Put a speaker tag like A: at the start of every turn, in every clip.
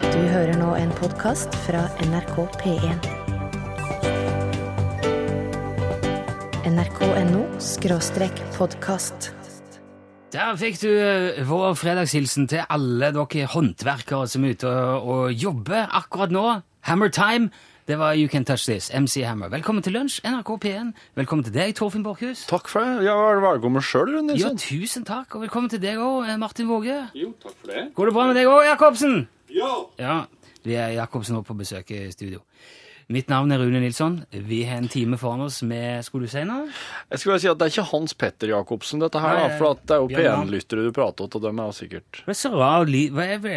A: Du hører nå en podkast fra NRK P1. NRK.no skråstrek podkast.
B: Der fikk du eh, vår fredagshilsen til alle dere håndverkere som er ute og, og jobber akkurat nå. Hammer time! Det var You Can Touch This, MC Hammer. Velkommen til lunsj, NRK P1. Velkommen til deg, Torfinn Borchhus.
C: Takk for det. Ja, Hva er det hva er det går med sjøl,
B: Ja,
C: Nilsson?
B: tusen takk, og velkommen til deg òg, Martin Våge.
D: Jo, takk for det.
B: Går det bra med deg òg, Jacobsen?
D: Ja!
B: Ja, vi er Jacobsen også på besøk i studio. Mitt navn er Rune Nilsson. Vi har en time foran oss med Skulle du si noe?
C: Jeg skulle bare si at Det er ikke Hans Petter Jacobsen, dette her.
B: Nei,
C: da, for at det er jo
B: Bjørn.
C: P1-lyttere du prater til, og dem er jo sikkert
B: Hva er så rar lyd Hva er det,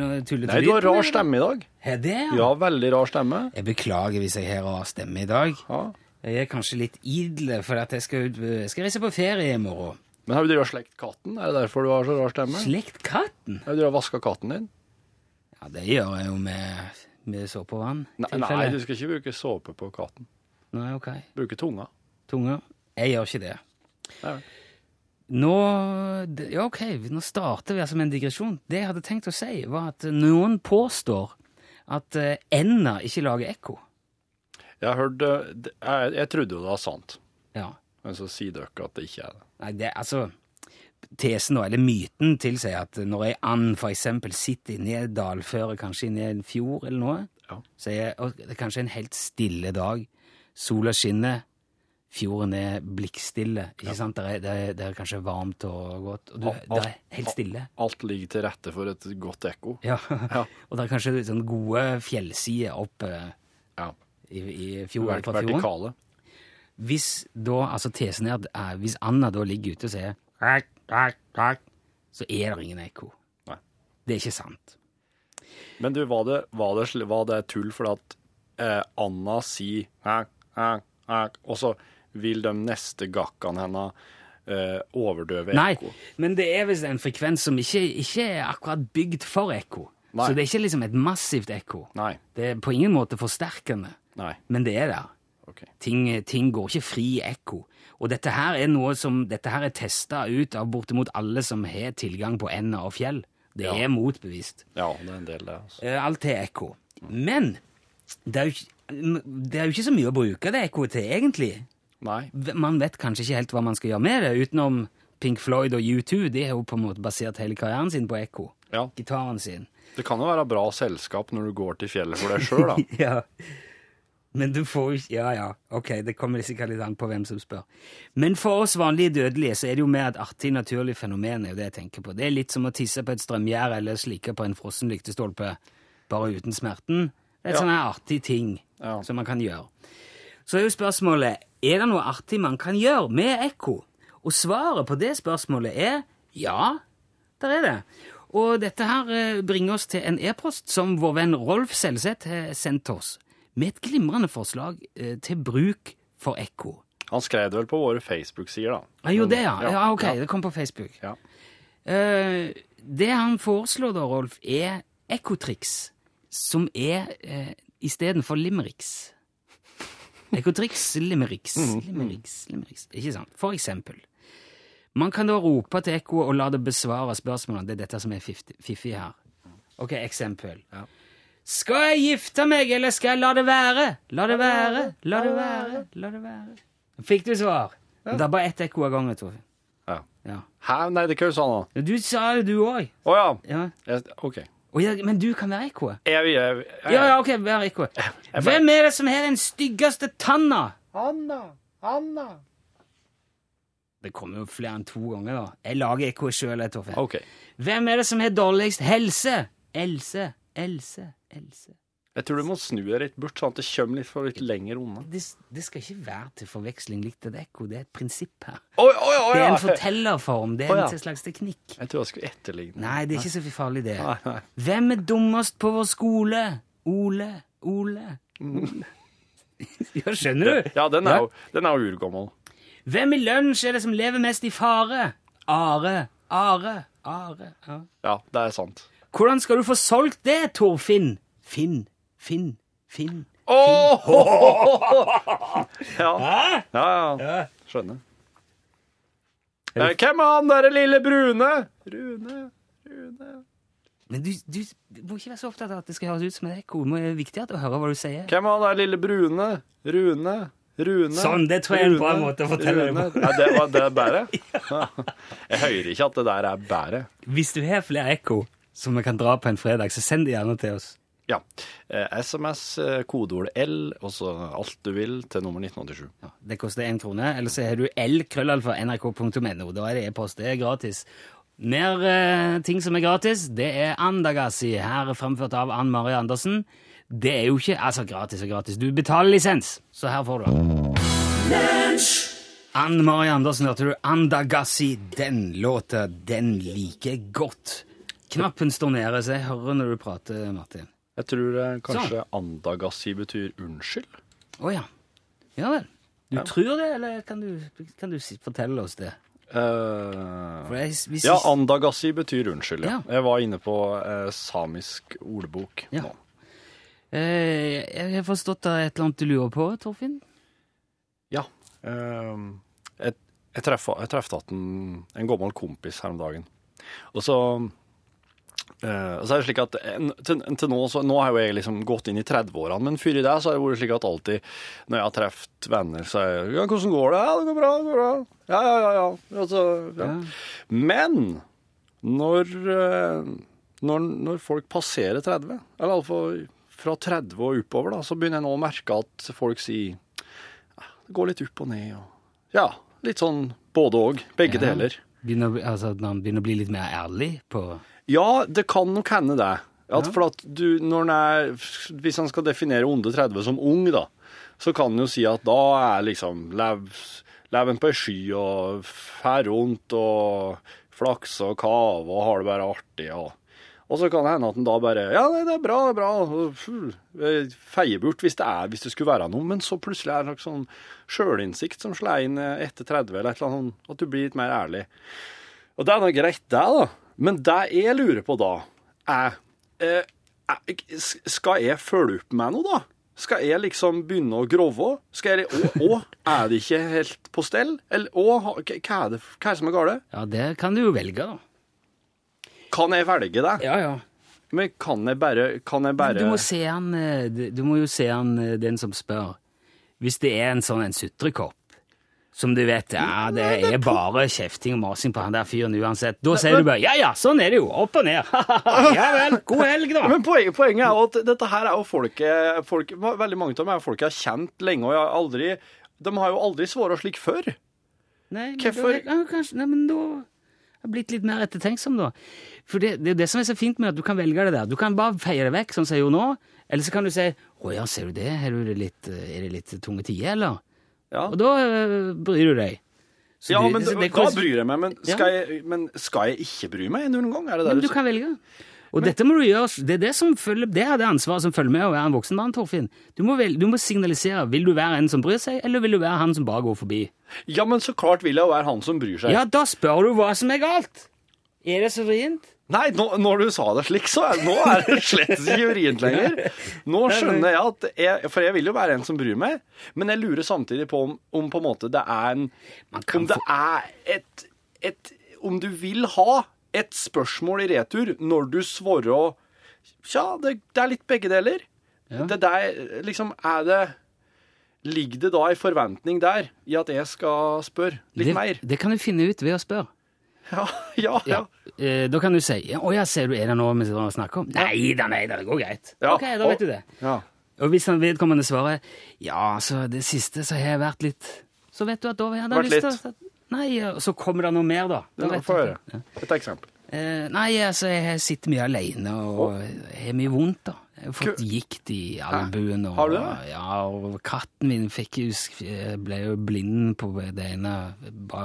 B: noe tullete
C: Nei, du har
B: lyd?
C: rar stemme i dag.
B: Er det?
C: Ja, veldig rar stemme.
B: Jeg beklager hvis jeg har rar stemme i dag.
C: Ja.
B: Jeg er kanskje litt idle, for at jeg skal, ut- jeg skal reise på ferie i morgen.
C: Men har du drevet og slekt katten? Er det derfor du har så rar stemme?
B: Slekt katten?
C: Har du drevet og vaska katten din?
B: Ja, det gjør jeg jo med, med såpevann.
C: Nei, nei,
B: tilfelle.
C: du skal ikke bruke såpe på katten.
B: Nei, ok.
C: Bruke tunga.
B: Tunga? Jeg gjør ikke det.
C: Nei.
B: Nå, det- ja, ok, nå starter vi altså med en digresjon. Det jeg hadde tenkt å si, var at noen påstår at eh, enda ikke lager ekko.
C: Jeg har hørt eh, det- jeg, jeg trodde jo det var sant,
B: Ja.
C: men så sier dere at det ikke er det.
B: Nei, det, altså, tesen da, eller myten tilsier at når ei and for eksempel sitter inni et dalføre, kanskje inni en fjord eller noe,
C: Ja.
B: så er og det er kanskje en helt stille dag, sola skinner, fjorden er blikkstille, ikke sant? Det er, det, er, det er kanskje varmt og godt, og du,
C: Alt-
B: det er helt stille.
C: Alt ligger til rette for et godt ekko.
B: Ja.
C: Ja.
B: og det er kanskje sånn gode fjellsider opp eh,
C: Ja.
B: i, i fjorden,
C: Vert-
B: fra fjorden.
C: Vertikale.
B: Hvis da, altså tesen er at eh, hvis Anna da ligger ute og sier «Krak, krak, krak», så er det ingen ekko.
C: Nei.
B: Det er ikke sant.
C: Men du, var det, var det, sl- var det tull fordi at eh, Anna sier «Ak, ak, ak», og så vil de neste gakkene henne eh, overdøve
B: Nei,
C: ekko?
B: men det er visst en frekvens som ikke, ikke er akkurat bygd for ekko.
C: Nei.
B: Så det er ikke liksom et massivt ekko.
C: Nei.
B: Det er på ingen måte forsterkende,
C: Nei.
B: men det er der.
C: OK.
B: Ting, ting går ikke fri i ekko. Og dette her er noe som, dette her er testa ut av bortimot alle som har tilgang på ender og fjell. Det
C: Ja.
B: er motbevist.
C: Ja, det er en del, det. Altså.
B: Eh, Alt er ekko. Men det er, jo, ikke- det er jo ikke så mye å bruke det ekkoet til, egentlig.
C: Nei.
B: V- Man vet kanskje ikke helt hva man skal gjøre med det, utenom Pink Floyd og U2. De har jo på en måte basert hele karrieren sin på ekko.
C: Ja.
B: Gitaren sin.
C: Det kan jo være bra selskap når du går til fjellet for deg sjøl, da.
B: Ja. Men du får jo ikke Ja, ja, ok, det kommer sikkert litt an på hvem som spør. Men for oss vanlige dødelige så er det jo mer et artig, naturlig fenomen, er jo det jeg tenker på. Det er litt som å tisse på et strømgjerde eller slike på en frossen lyktestolpe, bare uten smerten. Det er et
C: Ja.
B: sånn her artig ting
C: Ja.
B: som man kan gjøre. Så er jo spørsmålet er det noe artig man kan gjøre med ekko. Og svaret på det spørsmålet er ja, der er det. Og dette her eh, bringer oss til en e-post som vår venn Rolf Selseth har sendt oss, med et glimrende forslag eh, til bruk for ekko.
C: Han skrev det vel på våre Facebook-sider, da.
B: Han gjorde Ah, det, ja.
C: Ja,
B: ja ok,
C: ja.
B: det kom på Facebook.
C: Ja.
B: Eh, det han foreslår da, Rolf, er ekotriks, som er uh, istedenfor limericks. Ekotriks, limericks,
C: Mm.
B: limericks, limericks. Ikke sant? For eksempel. Man kan da rope til ekkoet og la det besvare spørsmålene. Det er dette som er fifti- fiffig her. Ok, eksempel.
C: Ja.
B: Skal jeg gifte meg, eller skal jeg la det være? La det være, la det være, la det være. Fikk du svar? Men Det er bare ett ekko av gangen, Torfinn.
C: Ja.
B: Ja.
C: Hæ? Nei, det er ikke sånn, da.
B: Ja, Du sa jo du òg.
C: Å ja.
B: Ja.
C: Jeg, OK.
B: Å, ja, men du kan være ekkoet.
C: Jeg, jeg, jeg,
B: Ja, ja, ok, vær ekkoet. Hvem er det som har den styggeste tanna?
C: Anna! Anna!
B: Det kommer jo flere enn to ganger, da. Jeg lager ekkoet sjøl, jeg, Torfinn.
C: OK.
B: Hvem er det som har dårligst helse? Else, Else, Else.
C: Jeg tror du må snu deg litt bort, sånn at det kommer litt, for litt lenger unna.
B: Det, det skal ikke være til forveksling likt et ekko. Det er et prinsipp her.
C: Oi, oi, oi,
B: Det er en
C: ja.
B: fortellerform. Det
C: Å,
B: er
C: ja.
B: en slags teknikk.
C: Jeg tror jeg skulle etterligne.
B: Nei, det er ikke så farlig, det.
C: Nei, nei.
B: Hvem er dummest på vår skole? Ole, Ole. Ja, skjønner du?
C: Ja, den er, jo, den er jo urgammel.
B: Hvem i lunsj er det som lever mest i fare? Are, Are, Are. Ja.
C: Ja, det er sant.
B: Hvordan skal du få solgt det, Torfinn? Finn, Finn, Finn.
C: Åh! ja. ja, ja. Skjønner. Eh, Hvem er han derre lille brune? Rune, Rune
B: Men du, du må ikke være så opptatt av at det skal høres ut som et ekko. Det er viktig at du hører hva du sier.
C: Hvem var den lille brune? Rune? Rune?
B: Sånn, det tror jeg er en bra måte å fortelle det
C: Rune.
B: på.
C: Nei, det var det er bære? Jeg hører ikke at det der er bære.
B: Hvis du har flere ekko som vi kan dra på en fredag, så send det gjerne til oss.
C: Ja. Eh, SMS, eh, kodeord L, og så alt du vil, til nummer 1987.
B: Ja, det koster én krone. Eller så har du l-krøllalfa.nrk.no. Da er det e-post. Det er gratis. Mer eh, ting som er gratis, det er Andagasi, her fremført av Ann Marie Andersen. Det er jo ikke altså gratis og gratis. Du betaler lisens, så her får du den. Ann Marie Andersen, hørte du? Andagasi. Den låta, den liker jeg godt. Knappen står nede, så jeg hører når du prater, Martin.
C: Jeg tror
B: Sånn.
C: eh, kanskje andagassi betyr unnskyld.
B: Å ja. Ja vel. Du tror det, eller kan du, kan du si- fortelle oss det?
C: Eh,
B: For jeg, hvis
C: ja,
B: jeg-
C: andagassi betyr unnskyld, ja.
B: Ja.
C: Jeg var inne på eh, samisk ordbok
B: Ja.
C: nå.
B: Eh, jeg har forstått det er et eller annet du lurer på, Torfinn.
C: Ja. ehm, jeg jeg treffa jeg treffet at en, en gammel kompis her om dagen. Og så, eh, så er det slik at en, til, til nå, så, nå har jo jeg liksom gått inn i 30-årene, men før i det så har det vært slik at alltid når jeg har truffet venner, så er jeg, ja, 'Hvordan går det?' 'Ja, det går bra.' det går bra. Ja, ja, ja. ja. Og så- ja. Men når, eh, når, når folk passerer 30, eller iallfall fra 30 og oppover, da, så begynner jeg nå å merke at folk sier «Ah, Det går litt opp og ned og Ja, litt sånn både og. Begge
B: Ja.
C: deler.
B: Begynner, å bli- altså, at man begynner å bli litt mer ærlig på
C: Ja, det kan nok hende det. At for at du, når en er, hvis han skal definere onde 30 som ung, da, så kan en jo si at da er liksom lev, leven på ei sky og fær rundt og flakse og kave og har det bare artig. Og, og så kan det hende at en da bare Ja, nei, det er bra, det er bra. og pff, eh, Feier bort hvis det er, hvis det skulle være noe. Men så plutselig er det nok sånn sjølinnsikt som slår inn eh, etter 30 eller et eller annet sånt. At du blir litt mer ærlig. Og det er nå greit, det, da. Men det jeg lurer på da, er eh, er- s- Skal jeg følge opp med noe, da? Skal jeg liksom begynne å grove? Skal jeg, og, er det ikke helt på stell? Eller, å, ha- hva hva er det hva er det som er galt?
B: Ja, det kan du jo velge, da.
C: Kan jeg velge det?
B: Ja, ja.
C: Men kan jeg bare, kan jeg bare
B: Du må, se han, eh, du du må jo se han eh, den som spør. Hvis det er en sånn en sutrekopp som du vet ja, det er bare kjefting og masing på han der fyren uansett, da sier du bare ja ja, sånn er det jo. Opp og ned. ja vel. God helg, da.
C: Men poenget, poenget er jo at dette her er jo folket folk, Veldig mange av dem er jo folk jeg har kjent lenge, og jeg har aldri De har jo aldri svart slik før.
B: Nei, men
C: Hvorfor-
B: Da, ja, kanskje, nei, men da har jeg blitt litt mer ettertenksom, da. For det, det er jo det som er så fint med at du kan velge det der. Du kan bare feie det vekk, sånn som jeg gjorde nå. Eller så kan du si 'Å ja, ser du det? Er du det litt, eh, er det litt tunge tider, eller?'
C: Ja.
B: Og da eh, bryr du deg. Så
C: Ja,
B: det-
C: men
B: så det-
C: da bryr jeg meg. Men
B: Ja.
C: skal, jeg, men skal jeg ikke bry meg noen gang? Er det
B: Men
C: det
B: du kan velge. Og dette må du gjøre, det er det som følger, det er det ansvaret som følger med å være en voksen mann, Torfinn. Du må, vel, du må signalisere, vil du være en som bryr seg, eller vil du være han som bare går forbi?
C: Ja, men så klart vil jeg jo være han som bryr seg.
B: Ja, da spør du hva som er galt! Er det så vrient?
C: Nei, nå, når du sa det slik, så er, nå er det slett ikke vrient lenger. Nå skjønner jeg at jeg, For jeg vil jo være en som bryr meg, men jeg lurer samtidig på om, om på en måte det er en
B: Man kan
C: Om det er et, et Om du vil ha et spørsmål i retur når du svarer og Tja, det, det er litt begge deler. Det der liksom Er det Ligger det da en forventning der i at jeg skal spørre litt
B: det,
C: mer?
B: Det kan du finne ut ved å spørre.
C: Ja, ja, ja.
B: Eh, da kan du si ja, 'Å ja, ser du er det noe vi skal snakke om?' Nei da, nei da, det går greit.
C: Ja,
B: Ok, da vet
C: og-
B: du det.
C: ja.
B: Og hvis han vedkommende svarer 'Ja, altså, det siste så har jeg vært litt' Så vet du at da hadde jeg
C: Vært
B: lyst til å Nei, og så kommer det noe mer, da. da vet
C: Få
B: du.
C: høre. Et eksempel.
B: Eh, nei, altså, jeg sitter mye alene og har mye vondt, da. Jeg har fått gikt i albuen. Og,
C: Har du det?
B: Ja, og katten min fikk jo, sk- ble jo blind på det ene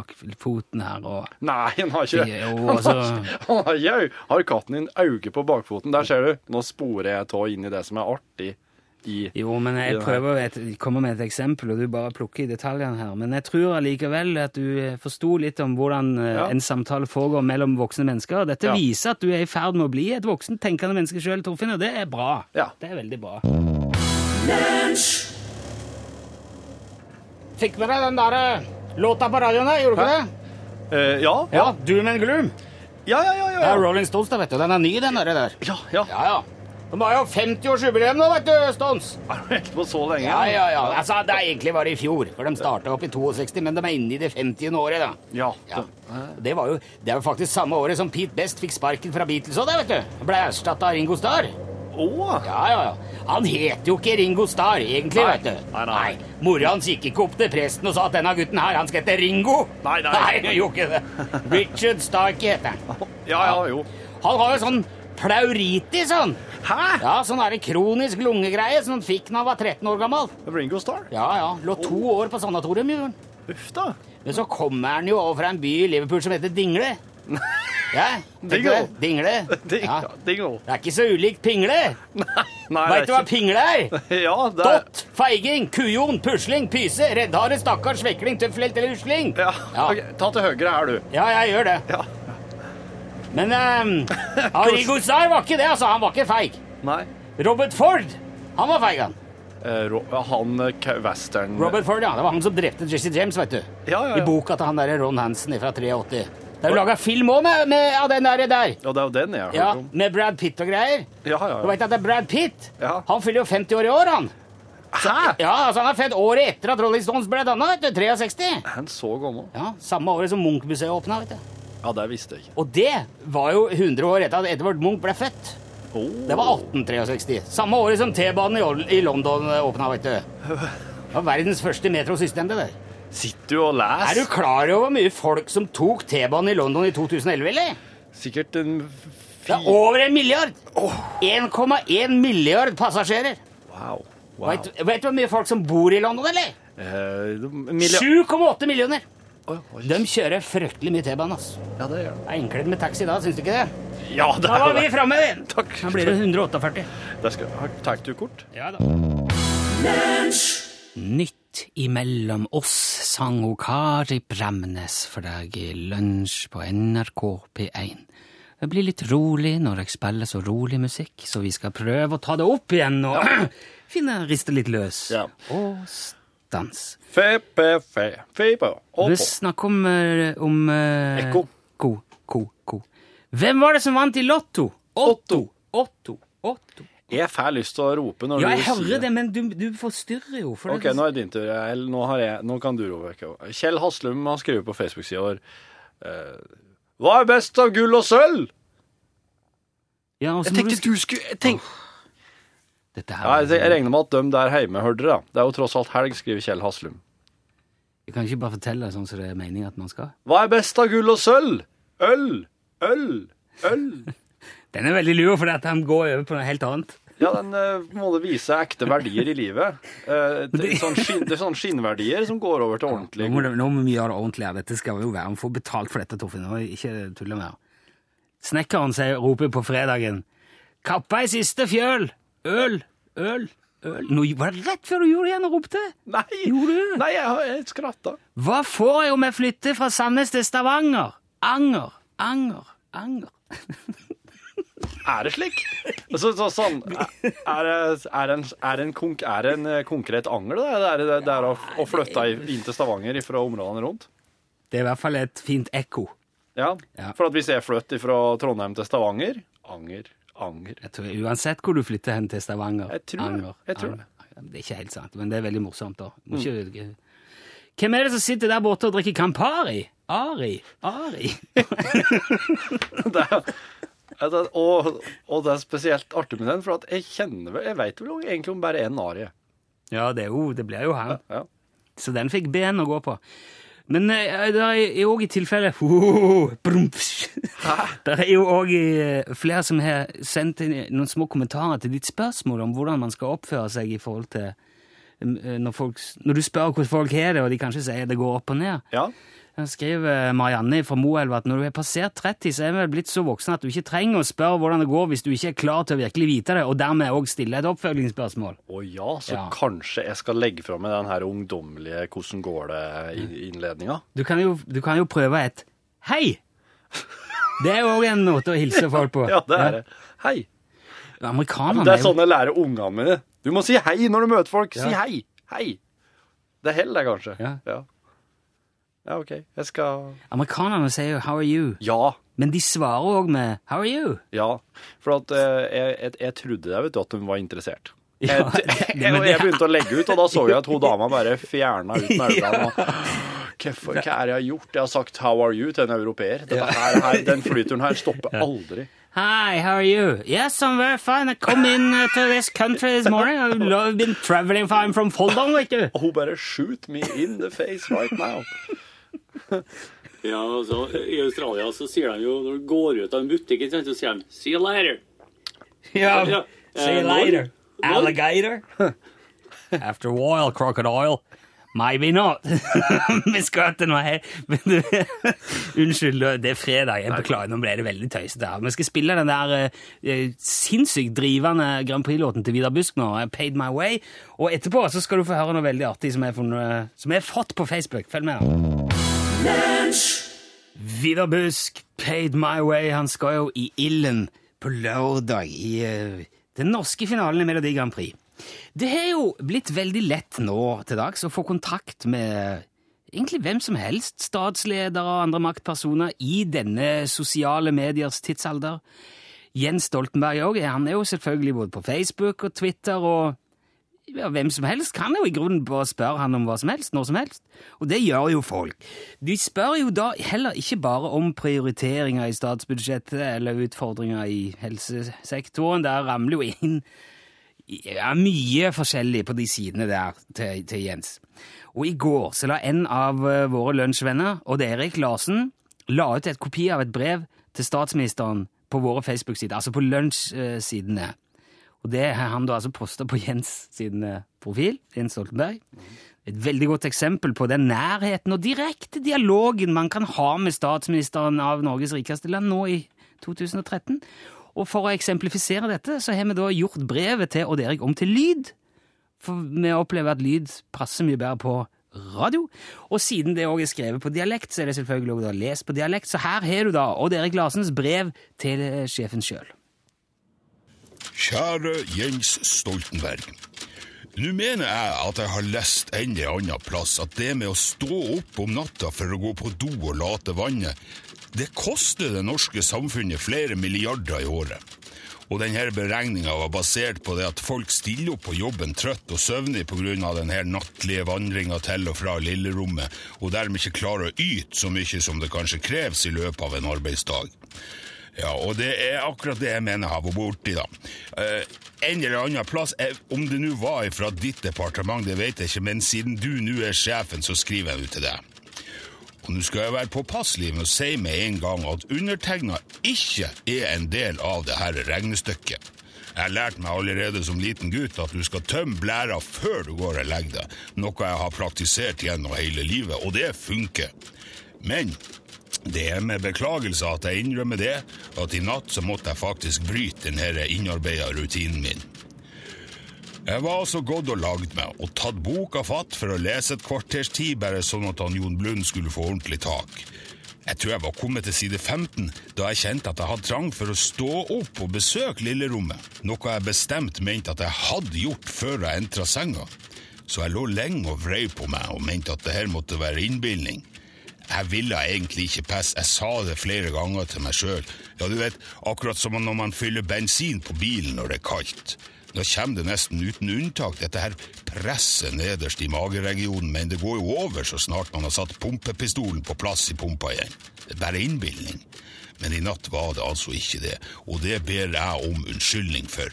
B: bakfoten her, og
C: Nei, han har ikke
B: Jo, altså.
C: Han har ikke au- Har katten din auge på bakfoten? Der ser du. Nå sporer jeg tå inn i det som er artig i
B: Jo, men jeg
C: Ja.
B: prøver å et, komme med et eksempel, og du bare plukker i detaljene her. Men jeg tror allikevel at du eh, forsto litt om hvordan eh,
C: Ja.
B: en samtale foregår mellom voksne mennesker. Dette
C: Ja.
B: viser at du er i ferd med å bli et voksen tenkende menneske sjøl, Torfinn, og det er bra.
C: Ja.
B: Det er veldig bra. Fikk
D: eh,
B: med deg den derre låta på radioen, da? Gjorde du ikke det?
C: Eh, ja, ja.
B: Doom and Gloom.
C: Ja, ja, ja.
D: Det
C: ja,
D: er
C: ja.
D: Rolling Stones, da, vet du. Den er ny, den der. der.
C: ja, ja.
D: Ja, ja. De har jo 50-årsjubileum nå, vet du, Stones.
C: Har du holdt på så lenge?
D: Ja, ja, ja. Altså, det er egentlig bare i fjor, for de starta opp i 62, men de er inne i det 50. året, da.
C: Ja.
D: Ja. Det var jo det er jo faktisk samme året som Pete Best fikk sparken fra Beatles òg, vet du. Han Ble erstatta av Ringo Starr.
C: Å,
D: Ja, ja, ja. Han het jo ikke Ringo Starr, egentlig,
C: Nei.
D: vet du.
C: Nei, nei.
D: Mora hans gikk ikke opp til presten og sa at denne gutten her, han skal hete Ringo.
C: Nei, nei.
D: nei han gjorde ikke det. Richard Starkey heter han.
C: ja, ja, jo.
D: Han har jo sånn pleuritis, han.
C: Hæ?
D: Ja, sånn er det kronisk lungegreie som han fikk da han var 13 år gammel.
C: Ringo Starr?
D: Ja, ja. Lå to år på sanatorium, gjorde han.
C: Uff da.
D: Men så kommer han jo over fra en by i Liverpool som heter Dingle. Ja, tenk
C: Dingle.
D: på det. Dingle.
C: Ding,
D: Ja.
C: Dingle.
D: Det er ikke så ulikt pingle.
C: Nei,
D: Veit du hva
C: ikke-
D: pingle er?
C: Ja, det er
D: Dott, feiging, kujon, pusling, pyse, reddhare, stakkars, vekling, tøffelt eller usling.
C: ja.
D: Ja.
C: ok, Ta til høyre her, du.
D: Ja, jeg gjør det.
C: Ja.
D: Men um, Arigo Star var ikke det, altså. Han var ikke feig.
C: Nei.
D: Robert Ford, han var feig, han.
C: Eh, Ro han eh, Ka- western...
D: Robert Ford, ja. Det var han som drepte Jesse James, vet du.
C: Ja, ja, ja.
D: I boka til han derre Ron Hansen fra 83. Det er jo laga film òg med, med av den derre der.
C: Ja, det er jo den jeg har
D: Ja,
C: hørt om.
D: med Brad Pitt og greier.
C: Ja, ja,
D: Du
C: ja.
D: veit at det er Brad Pitt?
C: Ja.
D: Han fyller jo 50 år i år, han.
C: Hæ?
D: Ja, altså Han er født året etter at Rolling Stones ble danna, vet du. 63.
C: Er han så gammel?
D: Ja, Samme året som Munch-museet åpna, vet du.
C: Ja, det visste jeg ikke.
D: Og det var jo 100 år etter at Edvard Munch ble født.
C: Åh.
D: Det var 1863. Samme året som T-banen i Ol- i London åpna, vet du. Det var verdens første metrosystem, det der.
C: Sitter du og
D: Er du
C: leser?
D: klar over hvor mye folk som tok T-banen i London i 2011, eller?
C: Sikkert en
D: Det
C: fi...
D: er over en milliard! 1,1 milliard passasjerer.
C: Wow. wow.
D: Vet, vet du hvor mye folk som bor i London, eller?
C: Eh, det- Emilia-
D: 7,8 millioner!
C: Oi, oi.
D: De kjører fryktelig mye T-bane, ass.
C: Ja, det gjør det.
D: Det er enklere med taxi da, syns du ikke det?
C: Ja, det
D: Da var
C: er
D: vi
C: det.
D: framme!
C: Takk.
D: Da blir det 148.
C: Der skal... Har tar du kort?
D: Ja da.
B: Nytt imellom oss sang hun Kari Bremnes for deg i lunsj på NRK P1. Jeg blir litt rolig når jeg spiller så rolig musikk, så vi skal prøve å ta det opp igjen og finne riste litt løs.
C: Ja.
B: Og stans.
C: Fe, pe, fe, fe, pe, og
B: Vi
C: på.
B: snakker om, eh, om eh,
C: Ekko.
B: Ko, ko, ko. Hvem var det som vant i Lotto? Otto. Otto. Otto.
C: Jeg får lyst til å rope når
B: Ja,
C: du
B: jeg
C: sier
B: hører det, men du, du forstyrrer jo. For
C: Ok,
B: det, sånn
C: nå er det din tur. Eller, nå, har jeg, nå kan du rope. Ekko. Kjell Haslum har skrevet på Facebook-sida vår eh, Hva er best av gull og sølv?
B: ja, og så må
C: Jeg
B: du
C: tenkte
B: sk-
C: du skulle jeg tenk...
B: Dette
C: ja,
B: her
C: altså, jeg, jeg regner med at dem der hjemme hørte det. da. Det er jo tross alt helg, skriver Kjell Haslum.
B: Jeg kan ikke bare fortelle sånn som det er meningen at man skal.
C: Hva er best av gull og sølv? Øl, øl, øl.
B: Den er veldig lur, for at han går over på noe helt annet.
C: Ja, den eh, må det vise ekte verdier i livet. Eh, det, sånn skinn, det er sånne skinnverdier som går over til
B: Nå
C: ordentlig
B: må, det- nå må vi gjøre det ordentlig her. Dette skal jo være Vi får betalt for dette, Torfinn. Nå er jeg Ikke tulle mer. Snekkeren sier, roper på fredagen Kappa i siste fjøl! Øl! Øl! Øl! Nå var det rett før du gjorde det igjen og ropte!
C: Nei!
B: Gjorde du?
C: Nei, jeg, har- jeg skratta.
B: Hva får jeg om jeg flytter fra Sandnes til Stavanger? Anger! Anger! Anger!
C: Er det slik? Så, så, sånn, er, det- er, det en, er, det en konk, er det en eh, konkret angel, da? Det er, det er, det er å, å flytte i- inn til Stavanger fra områdene rundt?
B: Det er i hvert fall et fint ekko.
C: Ja.
B: Ja.
C: For at hvis jeg flytter fra Trondheim til Stavanger Anger, anger.
B: Jeg tror Uansett hvor du flytter hen til Stavanger.
C: Jeg tror det.
B: anger,
C: Jeg tror
B: anger. Det Mm. er ikke helt sant, men det er veldig morsomt, da. Må Ikke, Hvem er det som sitter der borte og drikker Campari? Ari. Ari.
C: Det er, det er- og, og det er spesielt artig med den, for at jeg kjenner vel Jeg veit vel egentlig om bare én arie.
B: Ja, det, er jo, det blir jo han.
C: Ja.
B: Så den fikk ben å gå på. Men eh, det er òg i tilfelle oh, brumps. Det er jo òg flere som har sendt inn noen små kommentarer til ditt spørsmål om hvordan man skal oppføre seg i forhold til eh, når, folk, når du spør hvordan folk har det, og de kanskje sier det går opp og ned.
C: ja.
B: Her skriver eh, Marianne fra Moelv at når du har passert 30, så er du vel blitt så voksen at du ikke trenger å spørre hvordan det går hvis du ikke er klar til å virkelig vite det, og dermed òg stille et oppfølgingsspørsmål.
C: Å ja, så
B: Ja.
C: kanskje jeg skal legge fra meg den her ungdommelige 'hvordan går Mm. det'-innledninga.
B: Du kan jo, du kan jo prøve et hei! Det er òg en måte å hilse folk på.
C: Ja, det er det. Hei.
B: Ja, Amerikanerne
C: Det
B: er
C: er
B: jo
C: sånn jeg lærer ungene mine. Du må si hei når du møter folk. Si
B: Ja.
C: hei. Hei. Det holder, det, kanskje.
B: Ja.
C: Ja, OK. Jeg skal
B: Amerikanerne sier jo 'How are you?',
C: Ja.
B: men de svarer òg med 'How are you?'
C: Ja. For at, eh, jeg, jeg, jeg trodde det, vet du, at hun var interessert.
B: Ja,
C: jeg,
B: det-
C: jeg,
B: men det-
C: jeg begynte å legge ut, og da så jeg at hun dama bare fjerna ut med øynene. og, Hvorfor, hva er det jeg har gjort? Jeg har sagt 'how are you' til en europeer. Dette her, her, den flyturen her stopper aldri.
B: Hi, how are you? Yes, I'm very fine. I come in uh, to this country this morning. I've lo- been traveling far. I'm from Folldalen, vet du.
C: Og hun bare 'shoot me in the face right now'.
E: Ja, altså, I Australia så sier de jo, når du går ut av en butikk, ikke sant, så sier de 'see you later'. Ja.
B: See you
E: Eh,
B: later,
E: når-
B: alligator. After a while, crocodile. Maybe not. Vi skal til noe her. Men du- Unnskyld, det er fredag. Jeg beklager, nå ble det veldig tøysete her. Vi skal spille den der eh, sinnssykt drivende Grand Prix-låten til Vidar Busk nå, I Paid My Way. Og etterpå så skal du få høre noe veldig artig som jeg har fått på Facebook. Følg med. her. Vidar Busk, Paid My Way, han skal jo i ilden på lørdag i eh, den norske finalen i Melodi Grand Prix. Det har jo blitt veldig lett nå til dags å få kontakt med egentlig hvem som helst, statsledere og andre maktpersoner, i denne sosiale mediers tidsalder. Jens Stoltenberg òg, han er jo selvfølgelig både på Facebook og Twitter og ja, hvem som helst kan jo i grunnen bare spørre han om hva som helst, når som helst. Og det gjør jo folk. De spør jo da heller ikke bare om prioriteringer i statsbudsjettet eller utfordringer i helsesektoren. Der ramler jo inn ja, mye forskjellig på de sidene der til, til Jens. Og i går så la en av eh, våre lunsjvenner, Odd Erik Larsen, la ut et kopi av et brev til statsministeren på våre Facebook-sider, altså på lunsjsidene. Og det har han da altså posta på Jens sin eh, profil, Jens Stoltenberg. Et veldig godt eksempel på den nærheten og direkte dialogen man kan ha med statsministeren av Norges rikeste land nå i 2013. Og for å eksemplifisere dette, så har vi da gjort brevet til Odd Erik om til lyd. For vi opplever at lyd passer mye bedre på radio. Og siden det òg er skrevet på dialekt, så er det selvfølgelig også da lest på dialekt. Så her har du da Odd Erik Larsens brev til eh, sjefen sjøl.
F: Kjære Jens Stoltenberg. Nå mener jeg at jeg har lest en eller annen plass at det med å stå opp om natta for å gå på do og late vannet, det koster det norske samfunnet flere milliarder i året. Og denne beregninga var basert på det at folk stiller opp på jobben trøtt og søvnig pga. den her nattlige vandringa til og fra lillerommet, og dermed ikke klarer å yte så mye som det kanskje kreves i løpet av en arbeidsdag. Ja, og det er akkurat det jeg mener har vært borti, da. Eh, en eller annen plass, eh, om det nå var fra ditt departement, det vet jeg ikke, men siden du nå er sjefen, så skriver jeg ut til deg. Og nå skal jeg være påpasselig med å si med en gang at undertegna ikke er en del av det her regnestykket. Jeg lærte meg allerede som liten gutt at du skal tømme blæra før du går og legger deg, noe jeg har praktisert gjennom hele livet, og det funker. Men det er med beklagelse at jeg innrømmer det, at i natt så måtte jeg faktisk bryte denne innarbeida rutinen min. Jeg var altså gått og lagd meg, og tatt boka fatt for å lese et kvarters tid, bare sånn at han Jon Blund skulle få ordentlig tak. Jeg tror jeg var kommet til side 15 da jeg kjente at jeg hadde trang for å stå opp og besøke lillerommet, noe jeg bestemt mente at jeg hadde gjort før jeg entra senga. Så jeg lå lenge og vrei på meg og mente at det her måtte være innbilning. Jeg ville egentlig ikke pisse, jeg sa det flere ganger til meg sjøl. Ja, du vet, akkurat som når man fyller bensin på bilen når det er kaldt. Da kommer det nesten uten unntak, dette her presset nederst i mageregionen, men det går jo over så snart man har satt pumpepistolen på plass i pumpa igjen. Det er bare innbilning. Men i natt var det altså ikke det, og det ber jeg om unnskyldning for.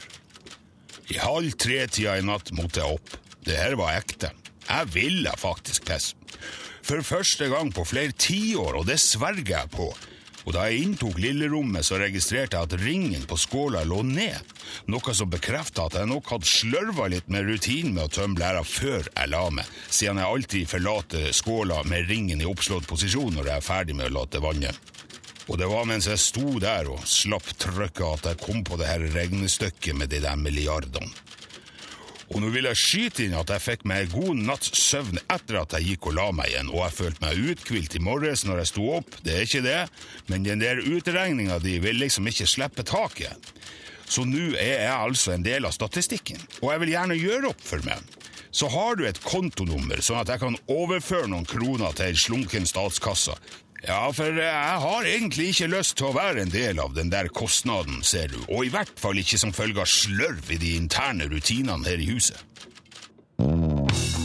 F: I halv tre-tida i natt måtte jeg opp. Det her var ekte. Jeg ville faktisk pisse. For første gang på flere tiår, og det sverger jeg på. Og da jeg inntok lillerommet, så registrerte jeg at ringen på skåla lå ned, noe som bekrefta at jeg nok hadde slørva litt med rutinen med å tømme blæra før jeg la meg, siden jeg alltid forlater skåla med ringen i oppslått posisjon når jeg er ferdig med å late vannet. Og det var mens jeg sto der og slapp trøkket at jeg kom på det her regnestykket med de der milliardene. Og nå vil jeg skyte inn at jeg fikk meg en god natts søvn etter at jeg gikk og la meg igjen, og jeg følte meg uthvilt i morges når jeg sto opp, det er ikke det, men den der utregninga di vil liksom ikke slippe taket. Så nå er jeg altså en del av statistikken, og jeg vil gjerne gjøre opp for meg. så har du et kontonummer, sånn at jeg kan overføre noen kroner til en slunken statskasse. Ja, for jeg har egentlig ikke lyst til å være en del av den der kostnaden, ser du, og i hvert fall ikke som følge av slørv i de interne rutinene her i huset.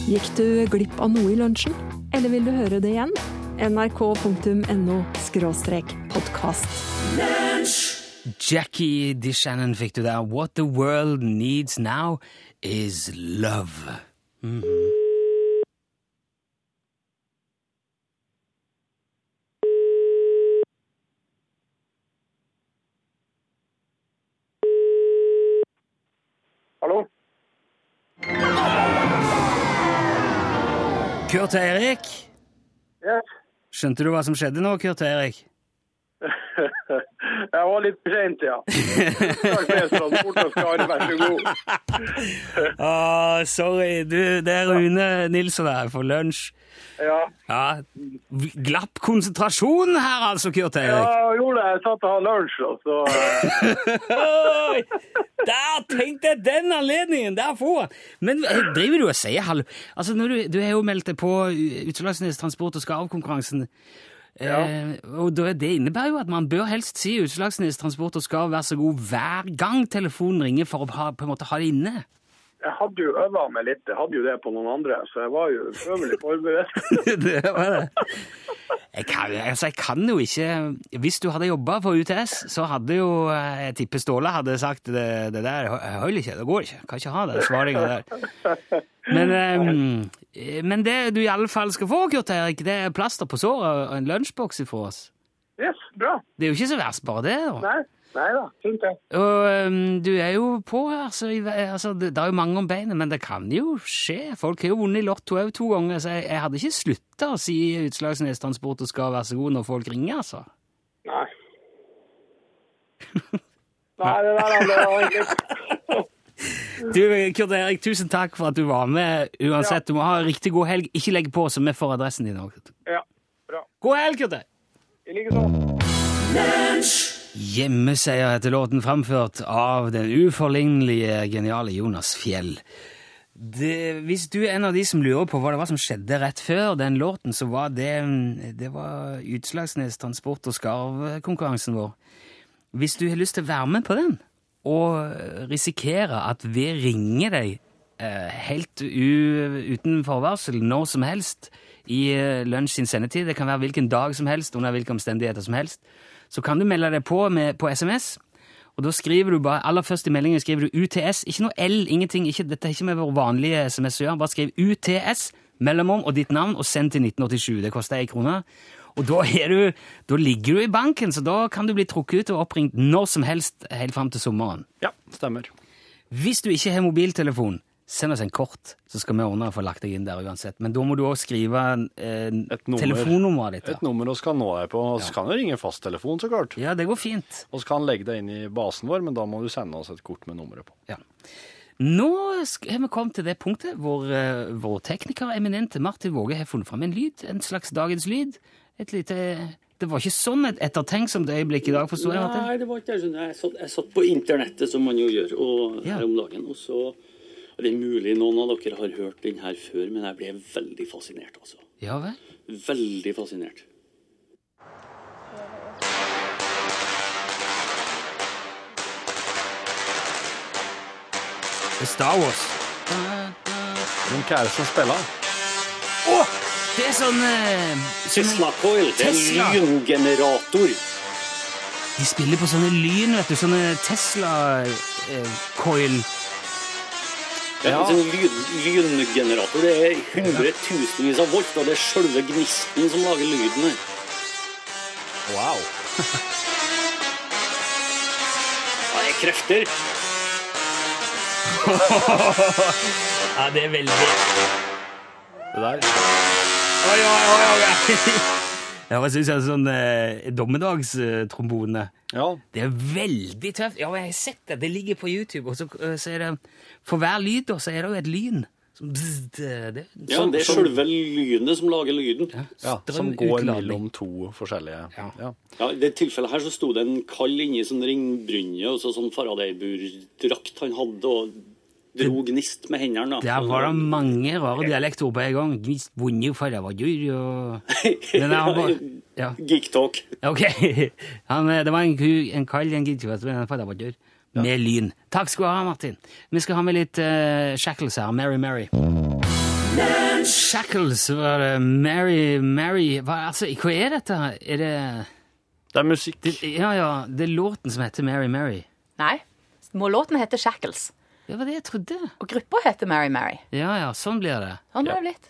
G: Gikk du glipp av noe i lunsjen? Eller vil du høre det igjen? nrk.no podkast.
B: Jackie DeShannon fikk du der. What the world needs now is love. Mhm.
H: Hallo?
B: Kurt Eirik,
H: Yes.
B: skjønte du hva som skjedde nå, Kurt Eirik?
H: Jeg var litt sent, ja. Takk for hjelpen. Borte skal alle være så god.
B: Å, Ah, sorry. Du, det er Rune Nilsson her for lunsj.
H: Ja.
B: Ja, glapp konsentrasjonen her altså, Kurt
H: ja,
B: Eirik.
H: jeg gjorde det. Jeg satt og hadde lunsj, da, så eh,
B: Oi, der tenkte jeg den anledningen! Der får han! Men eh, driver du og sier hallo? Altså, når du, du er jo meldt deg på U- Utslagsnes transport- og skarvkonkurransen. Eh, og da- det innebærer jo at man bør helst si Utslagsnes transport og skarv, vær så god, hver gang telefonen ringer for å ha, på en måte ha det inne.
H: jeg hadde jo øva meg litt. Jeg hadde jo det på noen andre, så jeg var jo øvelig forberedt.
B: det var det. Jeg kan, altså, jeg kan jo ikke Hvis du hadde jobba for UTS, så hadde jo eh, Jeg tipper Ståle hadde sagt det, det der hø- holder ikke, det går ikke. Kan ikke ha den svaringa der. Men, eh, men det du i alle fall skal få, Kurt Erik, det er plaster på såret og en lunsjboks ifra oss.
H: Yes, bra.
B: Det er jo ikke så verst, bare det. da.
H: Nei, nei da. Fint, det.
B: Og um, du er jo på her, så i ve- altså, det, det er jo mange om beinet, men det kan jo skje. Folk har jo vunnet i Lotto òg to ganger, så jeg, jeg hadde ikke slutta å si Utslagsnes Transport og skal være så god når folk ringer, altså.
H: Nei. Nei, det der han, det var egentlig
B: Du, Kurt Erik, tusen takk for at du var med. Uansett, du må ha en riktig god helg. Ikke legg på, så vi får adressen din òg.
H: Ja, bra.
B: God helg, Kurt Erik!
H: I like så.
B: Hjemmeseier heter låten framført av den uforlignelige, geniale Jonas Fjell. Det, hvis du er en av de som lurer på hva det var som skjedde rett før den låten, så var det, mm, det var Utslagsnes transport- og skarvkonkurransen vår. Hvis du har lyst til å være med på den, og risikere at vi ringer deg eh, helt u, uten forvarsel når som helst i eh, lunsj sin sendetid, det kan være hvilken dag som helst, under hvilke omstendigheter som helst, så kan du melde deg på med, på SMS. Og da skriver du bare, aller først i meldingen skriver du UTS, ikke noe L, ingenting, ikke, dette er ikke med vår vanlige SMS å gjøre, bare skriv UTS, mellomom og ditt navn, og send til 1987, det koster en krone. Og da, er du, da ligger du i banken, så da kan du bli trukket ut og oppringt når som helst, helt frem til sommeren.
C: Ja, stemmer.
B: Hvis du ikke har mobiltelefon, send oss en kort, så skal vi ordne å få lagt deg inn der uansett. Men da må du også skrive eh,
C: Et nummer.
B: telefonnummeret ditt.
C: Et
B: da.
C: nummer vi kan nå deg på. Vi kan jo ringe fasttelefon, så klart.
B: Ja, det går fint.
C: Vi kan legge deg inn i basen vår, men da må du sende oss et kort med nummeret på.
B: Ja. Nå sk- har vi kommet til det punktet hvor eh, vår tekniker eminente Martin Våge har funnet fram en lyd, en slags dagens lyd. Et lite Det var ikke sånn et ettertenksomt øyeblikk i dag, forsto jeg, Martin?
E: Nei, det var ikke det. skjønner du. Jeg satt, jeg satt på internettet, som man jo gjør, og,
B: Ja.
E: her om dagen. Og så Det er mulig noen av dere har hørt den her før, men jeg ble veldig fascinert, altså.
B: Ja vel?
E: Veldig fascinert.
B: Det er Star Wars.
C: Hvem hva er det som spiller?
B: Å! Det er sånn eh,
E: Tesla Coil, det
B: Tesla.
E: er en lyngenerator.
B: De spiller på sånne lyn, vet du. Sånne eh, Tesla-coil.
E: Det er en altså, lyn, lyngenerator. Det er hundretusenvis av volt, og det er sjølve gnisten som lager lyden her.
C: Wow.
E: Ja, det er krefter.
B: Ja, det er veldig
C: Det der.
B: Oi, oi, oi, oi. Ja, hva synes jeg er sånn eh, dommedagstrombone?
C: Ja.
B: Det er veldig tøft. Ja, men jeg har sett det. Det ligger på YouTube. Og så, eh, så er det, for hver lyd da, så er det jo et lyn. Som bzzzt, eh, det,
E: Ja, det er sjølve lynet som lager lyden.
C: ja som går mellom to forskjellige
B: Ja.
C: ja.
E: Ja, I det tilfellet her så sto det en kall inni sånn ringbrynje og så sånn Faraday-burdrakt han hadde, og Dro gnist med hendene, da.
B: Der var det mange rare dialektord på en gang. Gnist, bonde, far, var dyr, og... Men han var... Ja,
E: Geek talk.
B: ok. Han, eh, det var en, ku, en kall, en gidkjøtt, men en far, var dyr. Med lyn. Takk skal du ha, Martin. Vi skal ha med litt eh, Shackles her. Mary, Mary. Shackles var det. Mary, Mary. Hva, altså, hva er dette? her? Er det...
C: Det er musikk.
B: Ja, ja, det er låten som heter Mary, Mary.
I: Nei, må låten hete Shackles.
B: Det var det jeg trodde.
I: Og gruppa heter Mary Mary.
B: Ja, ja, sånn blir det.
I: Sånn er det blitt.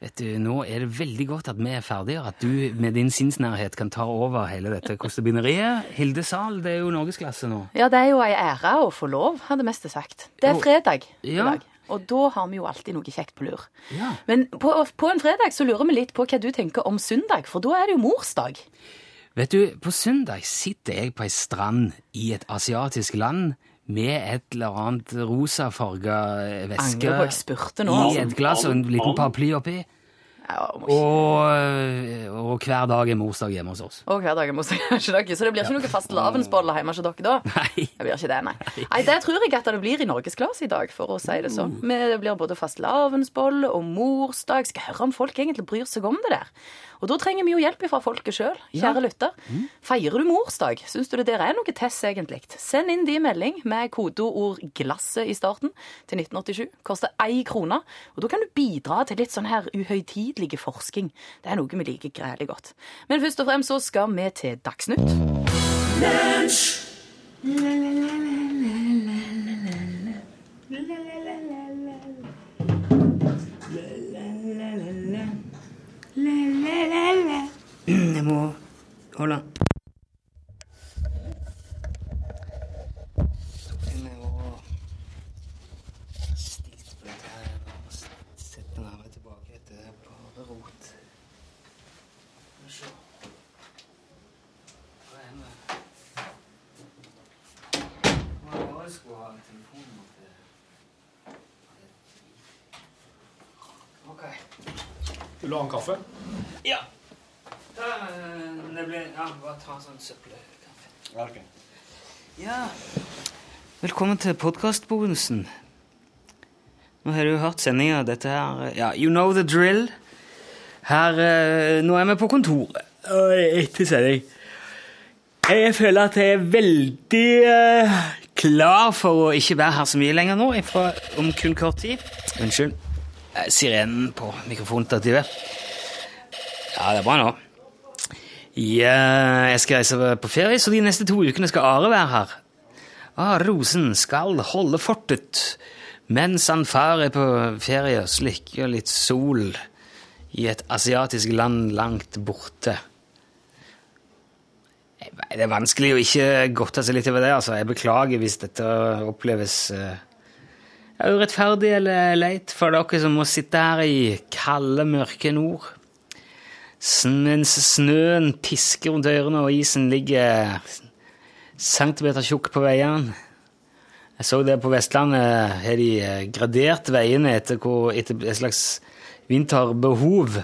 B: Vet du, Nå er det veldig godt at vi er ferdige, og at du med din sinnsnærhet kan ta over hele dette kostebinderiet. Hilde Sahl, det er jo norgesklasse nå.
I: Ja, det er jo ei ære å få lov, hadde mest sagt. Det er
B: Jo.
I: fredag i
B: Ja.
I: dag. Og da har vi jo alltid noe kjekt på lur.
B: Ja.
I: Men på, på en fredag så lurer vi litt på hva du tenker om søndag, for da er det jo morsdag.
B: Vet du, på søndag sitter jeg på ei strand i et asiatisk land med et eller annet rosafarga eh, væske
I: Angrer på jeg spurte nå. altså.
B: i et glass og en liten paraply oppi.
I: Ja, må ikke-
B: Og, eh, og hver dag er morsdag hjemme hos oss.
I: Og hverdagen må jeg ikke dere, så det blir ikke noe fastelavnsbolle hjemme hos dere da?
B: Nei.
I: Det blir ikke det, nei. Nei, Det tror jeg at det blir i norgesglass i dag, for å si det sånn. Men det blir både fastelavnsbolle og morsdag. Skal høre om folk egentlig bryr seg om det der. Og da trenger vi jo hjelp fra folket sjøl, kjære lytter. Feirer du morsdag? Syns du det der er noe tess, egentlig? Send inn din melding med kodeord 'glasset' i starten til 1987. Koster én krone. Og da kan du bidra til litt sånn her uhøytidelig forskning. Det er noe vi liker grælig godt. Men først og fremst så skal vi til Dagsnytt.
B: Jeg må holde
C: Vil du ha en kaffe?
B: Ja. Da, eh, det ble, ja, bare ta en sånn søppelkaffe. Ja. Velkommen til podkastbonusen. Nå har du hørt sendinga. Dette her eh, Ja, you know the drill. Her eh, Nå er vi på kontoret. Og etter sending. Jeg føler at jeg er veldig eh, klar for å ikke være her så mye lenger nå, ifra om kun kort tid. Unnskyld. Eh, Sirenen på mikrofonstativet. Ja, det er bra nå. Ja, jeg skal reise på ferie, så de neste to ukene skal Are være her. Ah, Rosen skal holde fortet mens han far er på ferie og slikker litt sol i et asiatisk land langt borte. Jeg vet, Det er vanskelig å ikke godte seg litt over det. altså. Jeg beklager hvis dette oppleves eh, urettferdig eller leit for dere som må sitte her i kalde, mørke nord. Sn- Mens snøen pisker rundt ørene og isen ligger centimeter tjukk på veiene. Jeg så det på Vestlandet har de eh, gradert veiene etter, hvor, etter et slags vinterbehov.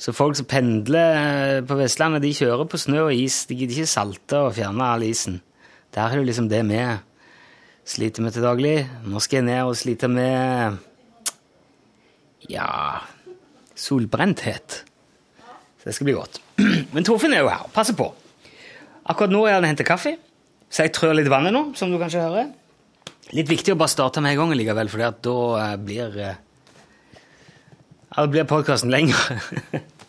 B: Så folk som pendler eh, på Vestlandet, de kjører på snø og is. De gidder ikke salte og fjerne all isen. Der er det liksom det vi sliter med til daglig. Nå skal jeg ned og slite med ja solbrenthet. Så det skal bli godt. Men Torfinn er jo her. Passer på. Akkurat nå er han og henter kaffe, så jeg trør litt vannet nå, som du kanskje hører. Litt viktig å bare starte med en gang likevel, for da eh, blir eh, ja, Da blir podkasten lengre.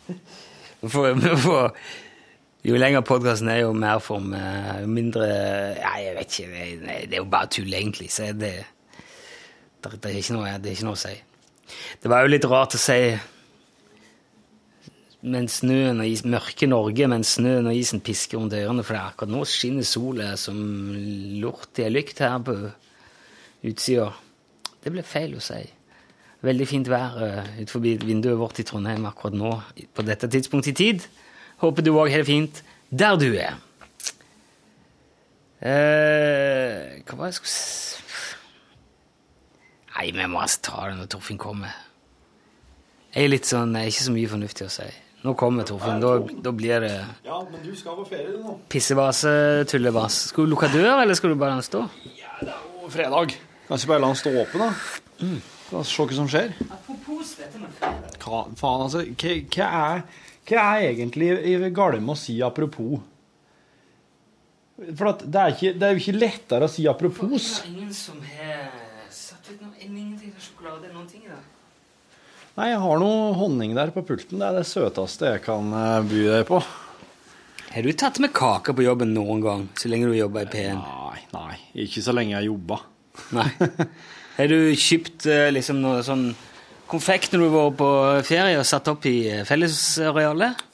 B: for, for, jo lenger podkasten er, jo mer form eh, mindre Nei, jeg vet ikke. Det, nei, det er jo bare tull, egentlig. Så det, det, det, er ikke noe, det er ikke noe å si. Det var jo litt rart å si mens snøen og is, mørke Norge, mens snøen og isen pisker rundt ørene, for det er akkurat nå skinner sola som lort i ei lykt her på utsida. Det ble feil å si. Veldig fint vær eh, ut forbi vinduet vårt i Trondheim akkurat nå, på dette tidspunktet i tid. Håper du òg har det fint der du er. Eh, hva var det jeg skulle s... Nei, vi må altså ta det når Torfinn kommer. Jeg er litt sånn, jeg er ikke så mye fornuftig å si. Nå kommer Torfinn, da, da blir det
C: Ja, men du skal på ferie nå.
B: pissevase, tullevas. Skal du lukke dør, eller skal du bare la den stå?
C: Fredag. Kanskje bare la den stå åpen, da. La oss se hva som skjer.
B: Apropos dette med fredag.
C: Hva faen, altså? Hva, hva, er, hva er egentlig i gale med å si apropos? For at det, er ikke, det er jo ikke lettere å si apropos.
B: Det er ingen som har satt ut noe ingenting av sjokolade eller noen ting i dag.
C: Nei, jeg har noe honning der på pulten. Det er det søteste jeg kan eh, by deg på.
B: Har du tatt med kake på jobben noen gang, så lenge du jobber i P1?
C: Nei, nei. Ikke så lenge jeg jobba.
B: Nei. Har du kjøpt eh, liksom noe sånn konfekt når du var på ferie og satt opp i eh, fellesarealet?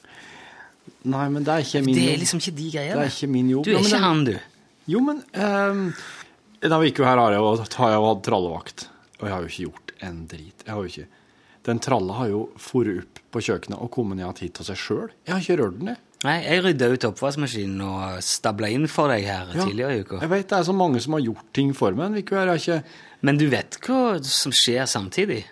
C: Nei, men det er ikke min
B: Det
C: jobb.
B: er liksom ikke de
C: Det
B: greiene.
C: er ikke min jobb.
B: Du er
C: Ja, men
B: ikke
C: det-
B: han, du.
C: Jo, men ehm, Da vi gikk jo her, har jeg jo, har jeg jo hatt trallevakt. Og jeg har jo ikke gjort en drit. Jeg har jo ikke Den tralla har jo foret opp på kjøkkenet og kommet ned hit av seg sjøl. Jeg har ikke rørt den, jeg.
B: Nei, jeg rydda ut oppvaskmaskinen og stabla inn for deg her
C: Ja.
B: tidligere i uka.
C: Jeg vet det er så mange som har gjort ting for meg. men Likevel, jeg har ikke
B: Men du vet hva som skjer samtidig?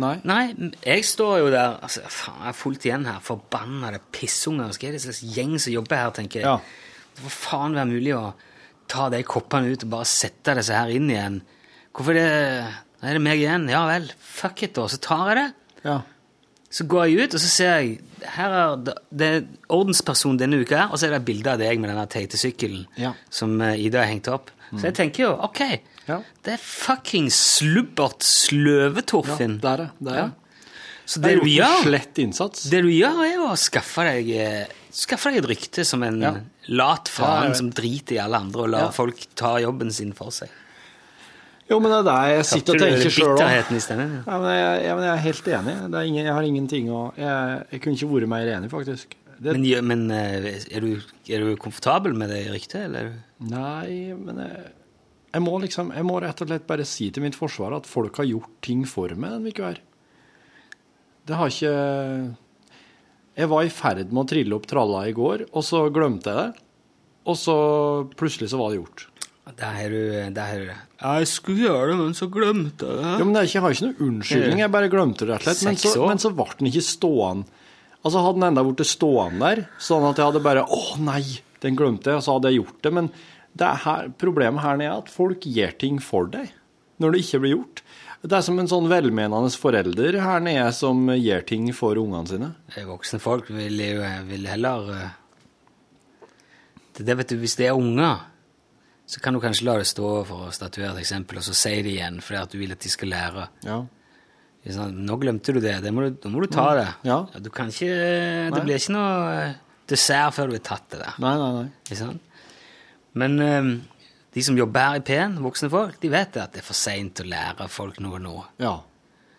C: Nei.
B: Nei, jeg står jo der altså, Faen, jeg er fullt igjen her. Forbannede pissunger. Hva er det slags gjeng som jobber her, tenker jeg.
C: Ja.
B: Det får faen være mulig å ta de koppene ut og bare sette disse her inn igjen. Hvorfor det Nå er det meg igjen. Ja vel, fuck it, da. Så tar jeg det.
C: Ja.
B: Så går jeg ut, og så ser jeg Her er det- det er ordensperson denne uka, her, og så er det et bilde av deg med denne teite sykkelen
C: Ja. Mm.
B: som eh, Ida har hengt opp. Så jeg tenker jo, OK,
C: Ja.
B: det er fucking slubbert
C: ja
B: sløvetorfinn.
C: det er det. Det er
B: Ja.
C: det.
B: Så
C: Jeg
B: det
C: har
B: du
C: gjort en
B: gjør,
C: slett innsats.
B: det du gjør, er jo å skaffe deg, eh, skaffe deg et rykte som en
C: Ja.
B: lat
C: Ja, jeg
B: faen
C: vet.
B: som driter i alle andre og lar
C: Ja.
B: folk ta jobben sin for seg.
C: Jo, men det er der jeg sitter
B: Tapte
C: og
B: du
C: tenker sjøl òg.
B: bitterheten i stedet?
C: Ja, men jeg, jeg, men jeg er helt enig. Det er ingen, jeg har ingenting å jeg, jeg kunne ikke vært mer enig, faktisk. Det,
B: Men, gjør- men eh, er, du, er du komfortabel med det ryktet, eller?
C: Nei, men jeg, jeg må liksom Jeg må rett og slett bare si til mitt forsvar at folk har gjort ting for meg denne uka her. Det har ikke Jeg var i ferd med å trille opp tralla i går, og så glemte jeg det. Og så plutselig så var det gjort.
B: Der har du der har du det. Jeg skulle gjøre det, men så glemte jeg
C: Jo, men det er ikke, Jeg har ikke noen unnskyldning, jeg bare glemte det rett og slett. Men
B: Seks
C: så,
B: år.
C: men så ble den ikke stående. Altså Hadde den enda blitt stående der, sånn at jeg hadde bare Å nei, den glemte jeg, og så hadde jeg gjort det. Men det er her, problemet her nede er at folk gjør ting for deg når det ikke blir gjort. Det er som en sånn velmenende forelder her nede som gjør ting for ungene sine.
B: eh, Voksne folk vil jo vil heller eh, Det der, vet du, Hvis det er unger, så kan du kanskje la det stå for å statuere et eksempel, og så si det igjen fordi at du vil at de skal lære.
C: Ja.
B: Det er Sånn, nå glemte du det, det må du, nå må du ta det.
C: Mm. Ja.
B: Du kan ikke, det
C: Nei.
B: blir ikke noe eh, dessert før du har tatt det der.
C: Nei, nei, nei.
B: Ikke sant? Men eh, de som jobber her i P1, voksne folk, de vet at det er for seint å lære folk noe nå.
C: Ja.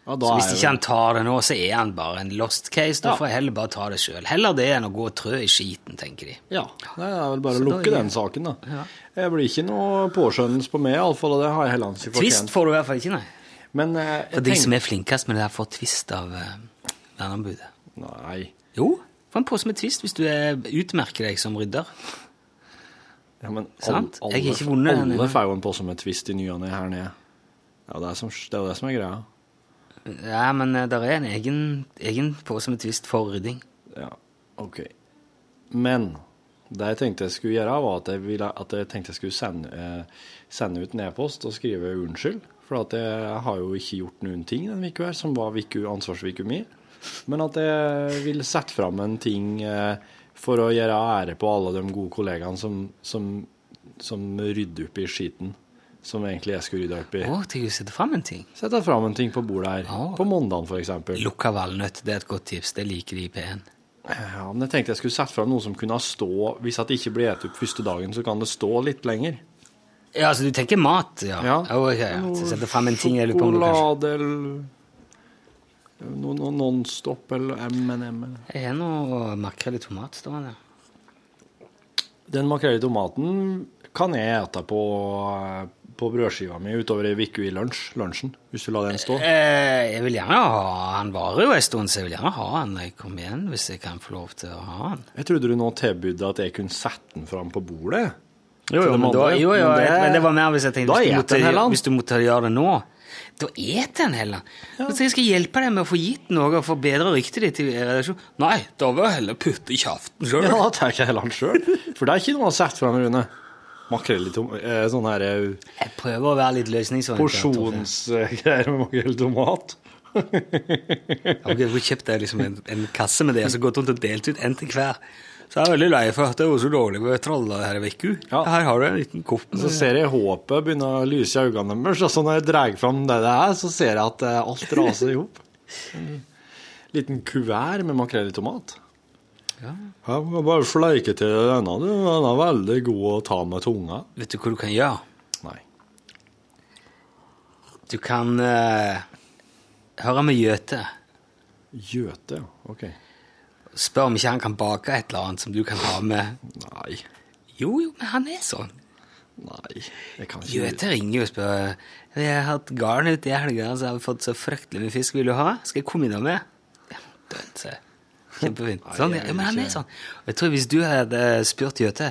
C: ja
B: Så
C: da er
B: hvis
C: jeg
B: ikke han tar det nå, så er han bare en lost case. Da
C: Ja.
B: får jeg heller bare ta det sjøl. Heller det enn å gå og trø i skiten, tenker de.
C: Ja, det er vel bare
B: Så
C: å
B: da
C: lukke
B: er-
C: den saken, da. Jeg blir ikke noe påskjønnelse på meg, iallfall, og det har jeg heller ikke
B: Twist
C: fortjent.
B: får du i hvert fall ikke, nei.
C: Men eh, jeg
B: For de
C: tenker-
B: som er flinkest med det der, får twist av eh, verneombudet.
C: Nei.
B: Jo, få en pose med twist hvis du er, utmerker deg som rydder.
C: Ja, men
B: Sant?
C: alle,
B: Jeg har ikke
C: alle,
B: vunnet den ennå.
C: alle får jo en pose med twist i ny og ne her nede. Ja, det er, som, det er jo det som er greia.
B: Ja, men det er en egen, egen pose med twist for rydding.
C: Ja, ok. Men det jeg tenkte jeg skulle gjøre, var at jeg, ville, at jeg tenkte jeg skulle sende, eh, sende ut en e-post og skrive unnskyld. For at jeg har jo ikke gjort noen ting denne uka her, som var viku, ansvarsviku mi. Men at jeg vil sette fram en ting eh, for å gjøre ære på alle de gode kollegaene som, som, som rydder opp i skiten. Som egentlig jeg skulle rydde opp i.
B: Å, til å sette fram en ting.
C: Sett deg fram en ting på bordet her.
B: Ja.
C: På mandagen, for eksempel.
B: Lukka valnøtt, det er et godt tips. Det liker de i P1.
C: Ja, men jeg tenkte jeg skulle sette fram noe som kunne stå Hvis at det ikke blir spist opp første dagen, så kan det stå litt lenger.
B: Ja, altså du tenker mat, ja.
C: Ja.
B: Ok, ja. Så sette fram en ting jeg lurer på om du kanskje
C: Sjokolade eller noe noe Nonstop eller M&M. eller-
B: Jeg har noe makrell i tomat stående.
C: Den makrell i tomaten kan jeg ete på, på brødskiva mi utover ei uke i lunsj, lunsjen, hvis du lar den stå.
B: Eh, jeg vil gjerne ha Han varer jo en stund, så jeg vil gjerne ha han når jeg kommer igjen, hvis jeg kan få lov til å ha han.
C: Jeg trodde du nå tilbød at jeg kunne sette den fram på bordet.
B: Jo,
C: Til
B: jo,
C: de
B: men, da,
C: andre.
B: jo, jo,
C: Men
B: det,
C: det-
B: men det var mer hvis jeg tenkte
C: Da
B: hvis du,
C: eter
B: måtte,
C: den heller han.
B: hvis du måtte gjøre det nå. Da eter den heller. Så jeg skal hjelpe deg med å få gitt noe og få bedre ryktet ditt i redaksjonen. Nei, da vil jeg heller putte i kjeften sjøl.
C: Ja, da tar jeg heller den sjøl. For det er ikke noe å sette fram, Rune. Makrell i tomat eh, Sånn her eh,
J: Jeg prøver å være litt løsningsorientert. Torfinn.
C: porsjonsgreier med makrell i tomat.
B: Ja, men Hvorfor kjøpte jeg liksom en, en kasse med det, og så gått rundt og delt ut en til hver? Så jeg er veldig lei for at det var så dårlig med traller her i uka.
C: Ja.
B: Her har du en liten kopp med
C: Så ser jeg håpet begynne å lyse i øynene deres, og så når jeg drar fram det det er, så ser jeg at eh, alt raser i hop. Liten kuvert med makrell i tomat. Ja. må bare sleike til denne. du. Den er veldig god å ta med tunga.
B: Vet du hva du kan gjøre?
C: Nei.
B: Du kan eh, høre med Gjøte.
C: Gjøte, ja. Ok.
B: Spør om ikke han kan bake et eller annet som du kan ha med.
C: Nei.
B: Jo, jo, men han er sånn.
C: Nei. Jeg kan ikke
B: Gjøte ringer jo og spør Vi har hatt garn ute i helga, så har vi fått så fryktelig mye fisk. Vil du ha? Skal jeg komme innom med? Ja, dønt, sier jeg. Kjempefint. Sånn, ja, men han er sånn. Og jeg tror hvis du hadde spurt Gjøte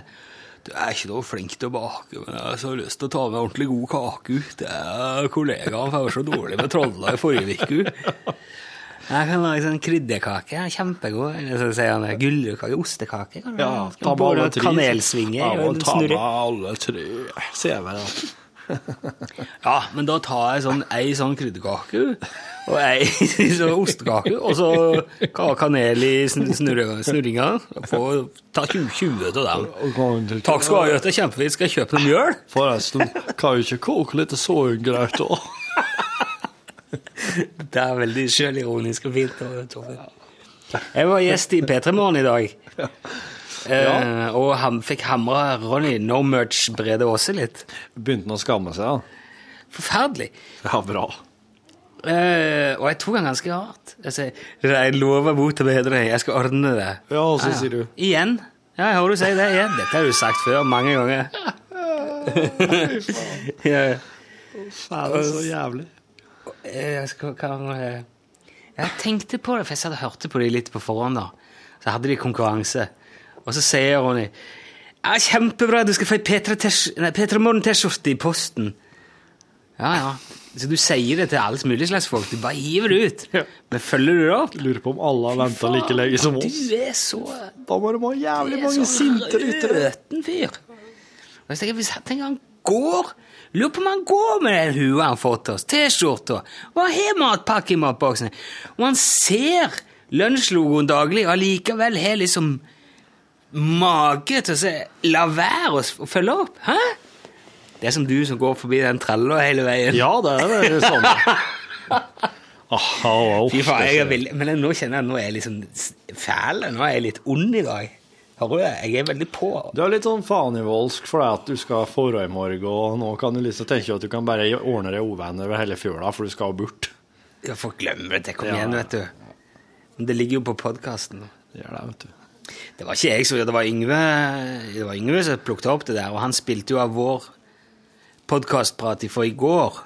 B: Du er ikke noe flink til å bake, men jeg har så lyst til å ta med ordentlig god kake ut. Det er Kollegaen for jeg var så dårlig med troller i forrige uke. Jeg kan lage sånn krydderkake. ja, Kjempegod. Eller så sier han gullkake, ostekake. kan du
C: Ja,
B: lage?
C: ta med alle
B: Både
C: tre.
B: Kanelsvinger
C: Ja,
B: og
C: men
B: en
C: ta med
B: snurre.
C: alle tre. Ser jeg meg, da.
B: Ja, men da tar jeg sånn ei sånn krydderkake og ei sånn ostekake, og så ka- kanel i sn- snurre- snurringa. Få ta 20 20 av dem. Takk skal du ha, Jøte. Kjempefint. Skal jeg kjøpe noe mjøl?
C: Forresten, kan jo ikke koke litt soyagrøt òg?
B: Det er veldig sjølironisk og fint. og Torfinn. Jeg var gjest i P3 Morgen i dag, eh, og ham, fikk hamra Ronny No Merch Brede Aase litt.
C: Begynte han å skamme seg, da?
B: Forferdelig.
C: Ja, bra.
B: Eh, og jeg tok han ganske Altså, hardt. Jeg sier jeg lover bot og bedring, jeg skal ordne det.
C: Ja, og så
B: Ja, ja.
C: sier du
B: Igjen. Ja, jeg hører du si det igjen. Dette har du sagt før mange ganger. ja,
C: Faen, så jævlig.
B: Eh, jeg, skal, hva, var det? jeg tenkte på det, for jeg satt og hørte på det litt på forhånd. da. Så hadde de konkurranse. Og så sier Ronny ja, 'Kjempebra, du skal få ei P3 Morgen-T-skjorte i posten'. Ja, ja. Så du sier det til alle mulige slags folk. Du bare hiver det ut. Men følger du det opp?
C: Lurer på om alle har venta like lenge som oss.
B: Du er så
C: Da må det være jævlig mange sinte lyttere.
B: røten fyr. Og jeg tenker, hvis han tenker han går, lurer på om han går med den hua han har fått oss, T-skjorta, og han har matpakke i matboksen, og han ser lunsjlogoen daglig, og allikevel har liksom mage til å si, la være å s- å følge opp, hæ? Det er som du som går forbi den trella hele veien.
C: Ja, det er det samme. Aha, wow.
B: Fy faen,
C: altså.
B: jeg er veldig, men jeg- nå kjenner jeg, nå er jeg liksom s- fæl, nå er jeg litt ond i dag. Hører du det? Jeg er veldig på.
C: Du er litt sånn fanivoldsk fordi at du skal forra i morgen, og nå kan du liksom tenke at du kan bare ordne deg uvenner over hele fjøla, for du skal bort.
B: Ja, folk glemmer det. Kom
C: Ja.
B: igjen, vet du. Men det ligger jo på podkasten.
C: Det gjør det, vet du.
B: Det var ikke jeg som gjorde det, det var Yngve Det var Yngve som plukket opp det der, og han spilte jo av vår podkastprat fra i går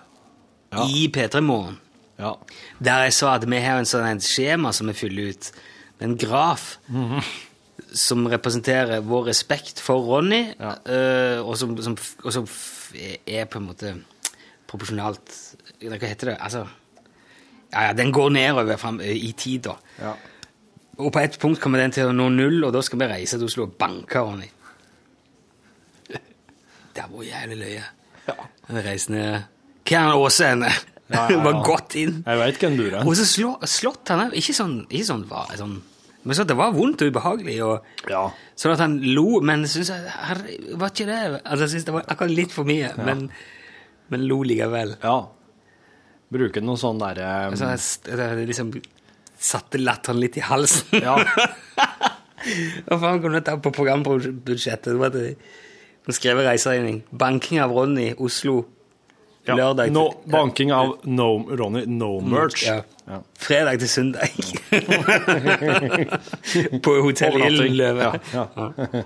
C: Ja.
B: i P3 Morgen,
C: Ja.
B: der jeg sa at vi har en sånn en skjema som vi fyller ut, en graf,
C: Mhm.
B: som representerer vår respekt for Ronny, eh, og som, som, f- og som f- er på en måte proporsjonalt Hva heter det? Altså Ja, ja, den går nedover frem, eh, i tid, da.
C: Ja.
B: Og på et punkt kommer den til å nå null, og da skal vi reise til Oslo og banke Ronny. Det var jævlig løye. Vi reiser ned Kern Åse henne.
C: ja, ja.
B: Bare godt inn.
C: Jeg veit hvem du er.
B: Og så slå, slått han Ikke sånn, ikke sånn, var, sånn Men sånn at det var vondt og ubehagelig. Og,
C: Ja.
B: Sånn at han lo, men syntes jeg, herre, var ikke det Altså, jeg syntes det var akkurat litt for mye, men, men lo likevel.
C: ja. Bruke noe sånn derre
B: Så jeg, st- jeg liksom satte latteren litt i halsen.
C: Ja.
B: Hva faen kunne jeg ta på programbudsjettet? Det var det- Hun skrev i reiseregning. 'Banking av Ronny, Oslo'.
C: ja.
B: Lørdag til-
C: No, banking av no, Ronny No Merch.
B: Mm, Ja.
C: Ja.
B: Fredag til søndag. på hotellet i
C: Overnatting.
B: Løve.
C: Ja, eh,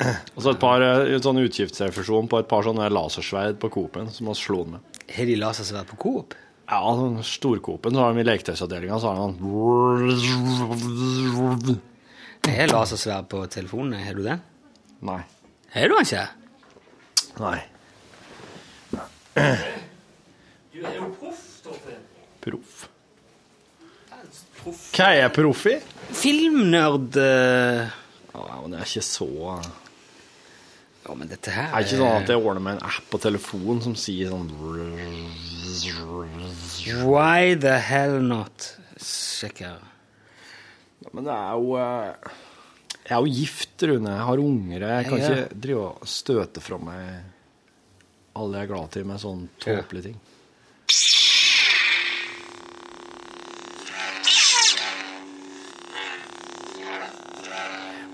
C: ja. Og så et par eh, sånn utgiftsrefusjon på et par sånne lasersverd på Coop-en som vi slo den med.
B: Har de lasersverd på Coop?
C: Ja, sånn Storcoop-en, så har de i leketøysavdelinga, så har de sånn
B: Jeg har lasersverd på telefonen. Har du det?
C: Nei.
B: Har du den ikke?
C: Nei. Du er jo proff, Torfinn. Proff. Hva er jeg proff i?
B: Filmnerd eh,
C: Ja, men jeg er ikke så
B: Ja, men dette her
C: Det er ikke sånn at jeg ordner med en app på telefonen som sier sånn
B: Why the hell not? Sjekker.
C: Ja, Men det er jo eh, Jeg er jo gift, Rune. Jeg har unger. Jeg kan
B: Ja.
C: ikke drive og støte fra meg alle jeg er glad til, med sånn tåpelige ting.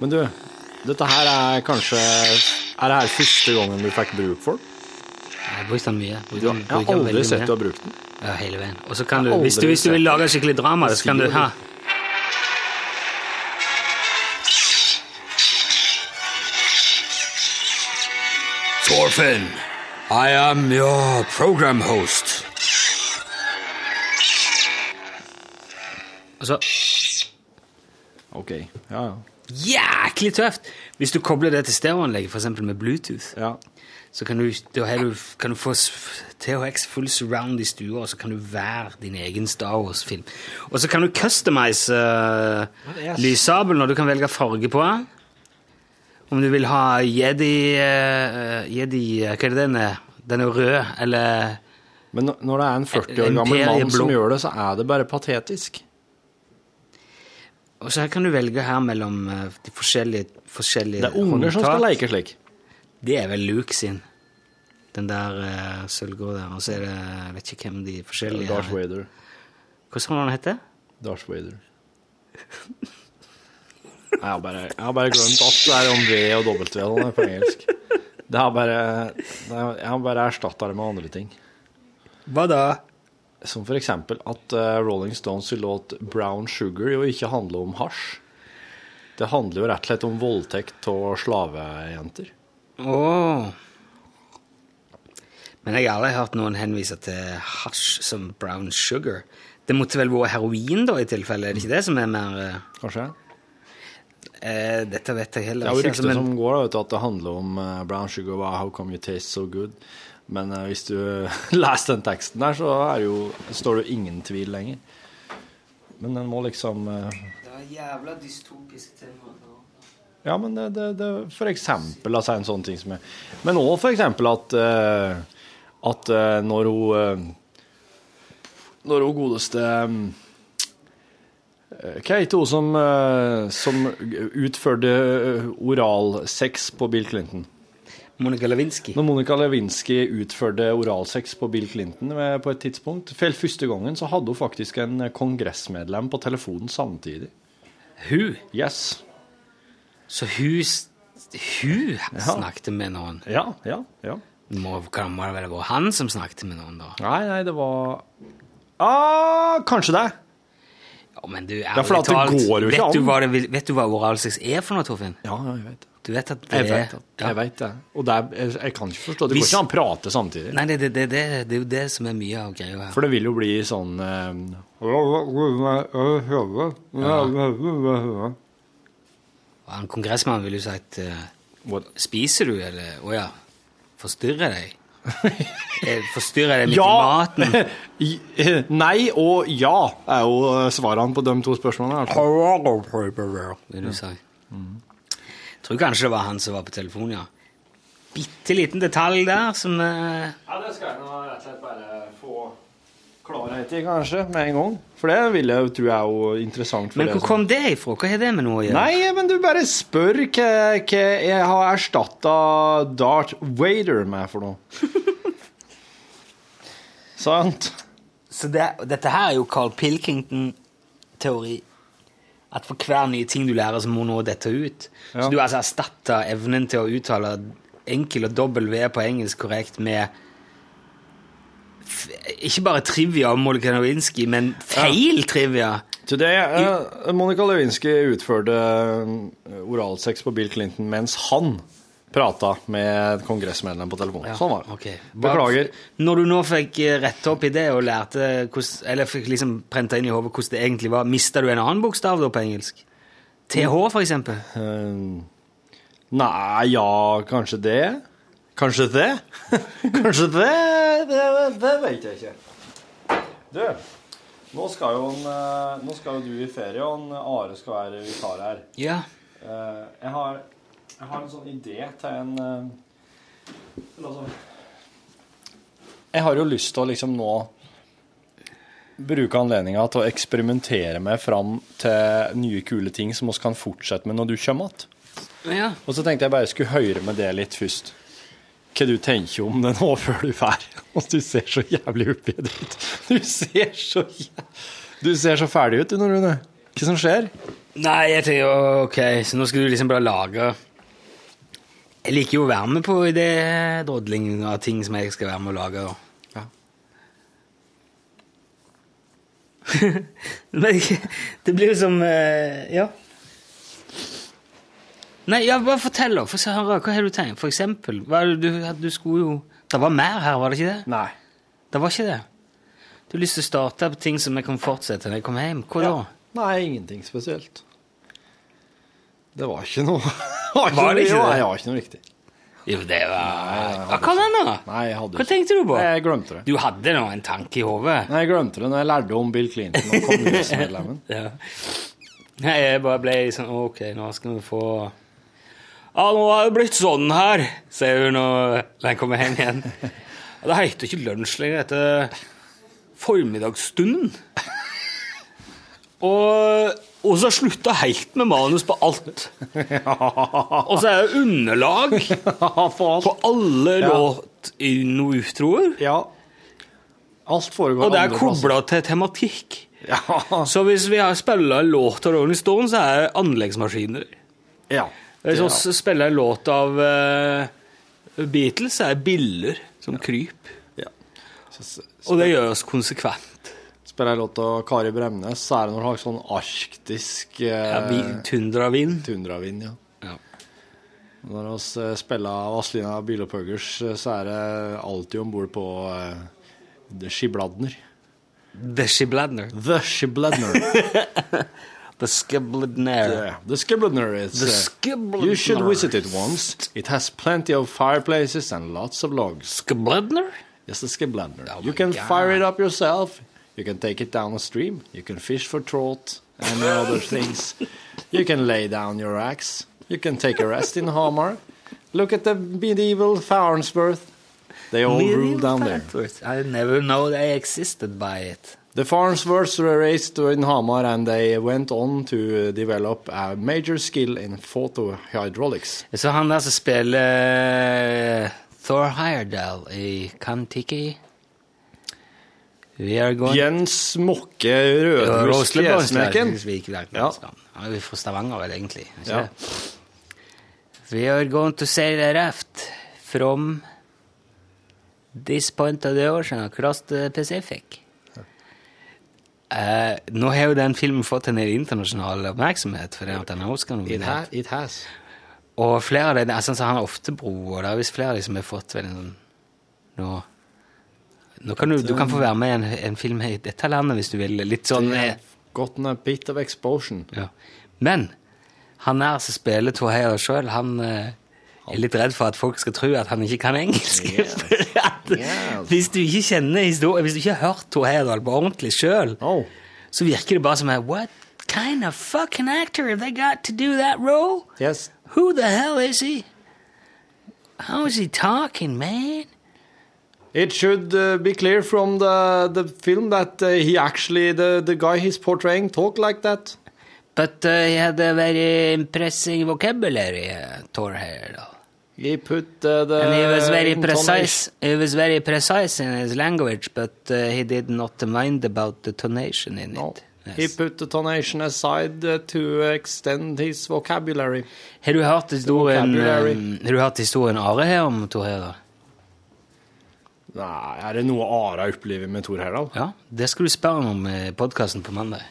C: Men du, dette her er kanskje Er det her første gangen du fikk bruk for den?
B: Jeg brukte den mye. Brukte
C: Du har-
B: den-
C: jeg har
B: brukte den
C: aldri
B: veldig
C: sett
B: mye.
C: du har brukt den.
B: Ja, hele veien. Og så kan
C: Jeg
B: du,
C: har
B: hvis du,
C: aldri
B: hvis du vil
C: sett
B: lage skikkelig drama, så kan du
C: Sier
B: ha
C: du.
B: Thorfinn, I am your program host. Og så
C: OK. Ja, ja.
B: jæklig tøft! Hvis du kobler det til stereoanlegget, f.eks. med Bluetooth, så kan du, da har du, kan du få s- THX full surround i stua, og så kan du være din egen Star Wars-film. Og så kan du customize eh, lyssabelen, og du kan velge farge på den. Om du vil ha Jedi, eh, Jedi Hva er det den er? Den er rød, eller
C: Men når- når det er en 40 år gammel
B: Imperiet
C: mann som
B: Eh, Blå.
C: gjør det, så er det bare patetisk.
B: Og så her kan du velge her mellom eh, de forskjellige, forskjellige
C: Det er unger som skal
B: håndtak.
C: leke slik.
B: Det er vel Luke sin. Den der uh, sølvgrå der. Og så er det Jeg vet ikke hvem de forskjellige
C: Darth Vader.
B: Hva sa du han heter?
C: Darth Vader. Jeg har bare, jeg har bare glemt alt det der om V og W og det på engelsk. Det har bare, det har, jeg har bare erstatta det med andre ting.
B: Hva da?
C: Som for eksempel at eh, Rolling Stones sin låt 'Brown Sugar' jo ikke handler om hasj. Det handler jo rett og slett om voldtekt av slavejenter.
B: Åh. Men jeg har aldri hørt noen henvise til hasj som brown sugar. Det måtte vel være heroin, da, i tilfelle? Er det ikke det som er mer eh,
C: Kanskje?
B: eh, Dette vet jeg
C: Det
B: heller
C: er jo
B: ikke.
C: rykter
B: altså, men-
C: som går, da, vet du, at det handler om eh, brown sugar, wow, how come you taste so good? Men eh, hvis du leser den teksten der, så er det jo, står det jo ingen tvil lenger. Men den må liksom eh,
B: Det var jævla dystopisk tema.
C: Ja, men det, det, det for eksempel altså, en sånn ting som er Men òg for eksempel at, eh, at eh, når hun eh, Når hun godeste eh, Hva heter hun som, eh, som utførte eh, oralsex på Bill Clinton?
B: Monica Lewinsky.
C: Når Monica Lewinsky utførte oralsex på Bill Clinton eh, på et tidspunkt, for første gangen så hadde hun faktisk en kongressmedlem på telefonen samtidig.
B: Hun?
C: Yes.
B: Så hun, s- hun snakket med noen?
C: Ja, ja, ja.
B: Må, kan, må det vel være han som snakket med noen, da?
C: Nei, nei, det var ah, Kanskje det.
B: Ja, men du,
C: er fordi at det går jo ikke
B: vet du
C: an.
B: hva det vil- Vet du hva oralsex er for noe, Torfinn?
C: Ja, jeg vet det.
B: Du vet at det
C: Jeg vet det.
B: Ja.
C: Jeg, vet det. Og det er, jeg, jeg kan ikke forstå Det går
B: Hvis-
C: ikke an å prate samtidig.
B: Nei, det, det, det, det, det er jo det som er mye av greia her.
C: For det vil jo bli sånn eh,
B: Og han kongressmannen ville jo sagt eh,
C: What?
B: Spiser du, eller Å ja. Forstyrrer deg? Eh, Forstyrrer deg midt i
C: Ja! eh,
B: maten?
C: Nei og ja er jo eh, svarene på de to spørsmålene. Altså.
B: Vil du si.
C: Mm.
B: Tror kanskje det var han som var på telefonen, ja. Bitte liten detalj der som eh,
C: Ja, det skal jeg nå rett og slett bare få klarhet i, kanskje, med en gang. For det vil jeg jo tro er jo interessant for
B: Men hvor
C: deg som-
B: kom det ifra? Hva har det med noe å gjøre?
C: Nei, men du bare spør hva, hva jeg har erstatta Darth Vader med for noe. Sant?
B: Så det, dette her er jo Carl Pilkington-teori. At for hver nye ting du lærer, så må noe dette ut.
C: Ja.
B: Så du har altså erstatta evnen til å uttale enkel og dobbel V på engelsk korrekt med f ikke bare trivia om Monica Nowinski, men feil trivia.
C: Today, eh, Monica Lewinsky utførte eh, oralsex på Bill Clinton mens han prata med et kongressmedlem på telefonen. Sånn var det.
B: Ok. Hva-
C: Beklager.
B: Når du nå fikk eh, retta opp i det og lærte hvordan, eller fikk liksom prenta inn i hodet hvordan det egentlig var, mista du en annen bokstav da på engelsk? TH, for eksempel?
C: Eh, Nei, ja, kanskje det. Kanskje det? kanskje det? Det, det vet jeg ikke. Du, nå skal, jo en, eh, nå skal jo du i ferie, og en Are skal være vikar her.
B: Ja.
C: Eh, altså- Jeg har, jeg har en sånn idé til en, eh, Jeg har jo lyst til å liksom nå bruke anledninga til å eksperimentere med fram til nye kule ting som vi kan fortsette med når du kommer igjen.
B: Ja.
C: Og så tenkte jeg bare skulle høre med det litt først. Hva du tenker om det nå før du drar. Og du ser så jævlig oppgitt ut. Du ser så jæ... Du ser så ferdig ut, du, Jon Rune. Hva som skjer?
B: Nei, jeg tenker jo OK, så nå skal du liksom bare lage Jeg liker jo å være med på det drodling av ting som jeg skal være med å lage. Og. Men jeg- det blir jo som eh, Ja. Nei, ja, bare fortell, da. Få se, høre, Hva har du tenkt? For eksempel hva, er det du, at du skulle jo Det var mer her, var det ikke det?
C: Nei.
B: Det var ikke det? Du har lyst til å starte på ting som jeg kan fortsette når jeg kommer hjem. Hva da?
C: Nei, ingenting spesielt. Det var ikke noe Var,
B: Var det ikke
C: Jo,
B: det?
C: Nei, det var ikke noe riktig.
B: Jo, det var
C: jeg
B: Hva
C: hadde
B: kan hende, da?
C: Nei, jeg hadde
B: Hva tenkte du på?
C: Nei, Jeg glemte det.
B: Du hadde nå en tanke i hodet?
C: Nei, jeg glemte det når jeg lærte om Bill Clinton og kommunismedlemmen.
B: Ja. Nei, jeg bare ble sånn Ok, nå skal vi få Ja, nå har det blitt sånn her, sier hun når den kommer hjem igjen. Ja, Det heter ikke lunsj lenger. Det heter formiddagsstunden. Og, og så slutta helt med manus på alt. Og så er det underlag på alle
C: Ja.
B: låt inn- og utroer.
C: Ja. Alt foregår
B: Og det er
C: andre plasser.
B: kobla til tematikk.
C: Ja.
B: Så hvis vi har spilla en låt av Rolling Stone, så er det anleggsmaskiner.
C: ja.
B: Hvis
C: Ja.
B: vi spiller en låt av eh, Beatles, så er det biller som kryper.
C: Ja. Så s-
B: Og det gjør oss konsekvent.
C: spiller jeg låt av Kari Bremnes, så er det noe slags sånn arktisk eh,
B: Ja, vi, tundravind.
C: tundravind, ja.
B: Ja.
C: Når vi eh, spiller Vazelina Bilopphøggers, eh, så er det alltid om bord på eh, The Skibladner.
B: The Shibladner.
C: The Skibladner.
B: The Skibladner.
C: Yeah, The Skibladner is
B: The
C: eh,
B: Skibladner.
C: You should visit it once. It has plenty of fireplaces and lots of logs.
B: Skibladner?
C: It's a skiblander.
B: Oh
C: you
B: my
C: can
B: God.
C: fire it up yourself. You can take it down a stream. You can fish for trout and other things. You can lay down your axe. You can take a rest in Hamar. Look at the medieval Farnsworth. They all rule down there.
B: I never know they existed by it.
C: The Farnsworths were raised in Hamar and they went on to develop a major skill in photo hydraulics.
B: Så han der som spiller eh, Thor Heyerdahl i Kon-Tiki We are going
C: Jens Mokke Rødhus Klesmekken. Ja.
B: Ja. Han er jo fra Stavanger, vel, egentlig. er ikke
C: Ja.
B: det? We are going to sail a raft from this point of the ocean across the Pacific. Eh, nå har jo den filmen fått en del internasjonal oppmerksomhet. fordi at den er
C: It,
B: Oscar-nominert.
C: ha it has.
B: Og flere av de, altså, så han Oftebro, og det er visst flere av de som har fått veldig sånn nå, nå kan du, du kan få være med i en, en film her i dette landet hvis du vil. Litt sånn eh,
C: Gotten a bit of explosion.
B: ja. Men han altså her som spiller Thor Heyerdahl sjøl, han eh, er litt redd for at folk skal tro at han ikke kan engelsk. Fordi at Hvis du ikke kjenner historien, hvis du ikke har hørt Thor Heyerdahl på ordentlig sjøl,
C: Oh.
B: så virker det bare som en What kind of fucking actor have they got to do that role?
C: Yes.
B: Who the hell is he? How is he talking, man?
C: It should uh, be clear from the, the film that uh, he actually, the, the guy he's portraying, talk like that.
B: But uh, he had a very impressive vocabulary, uh, Thor Heyerdahl.
C: He put uh, the.
B: And he was very
C: intonation-
B: precise. He was very precise in his language, but uh, he did not mind about the tonation in
C: No.
B: it.
C: He
B: Yes.
C: put the tonation aside uh, to extend his vocabulary.
B: Har du hørt historien,
C: vocabulary.
B: um, har du hørt historien Are her om Thor Heyerdahl?
C: Nei, er det noe Ara opplever med Thor Heyerdahl?
B: Ja, det skal du spørre ham om i podkasten på mandag.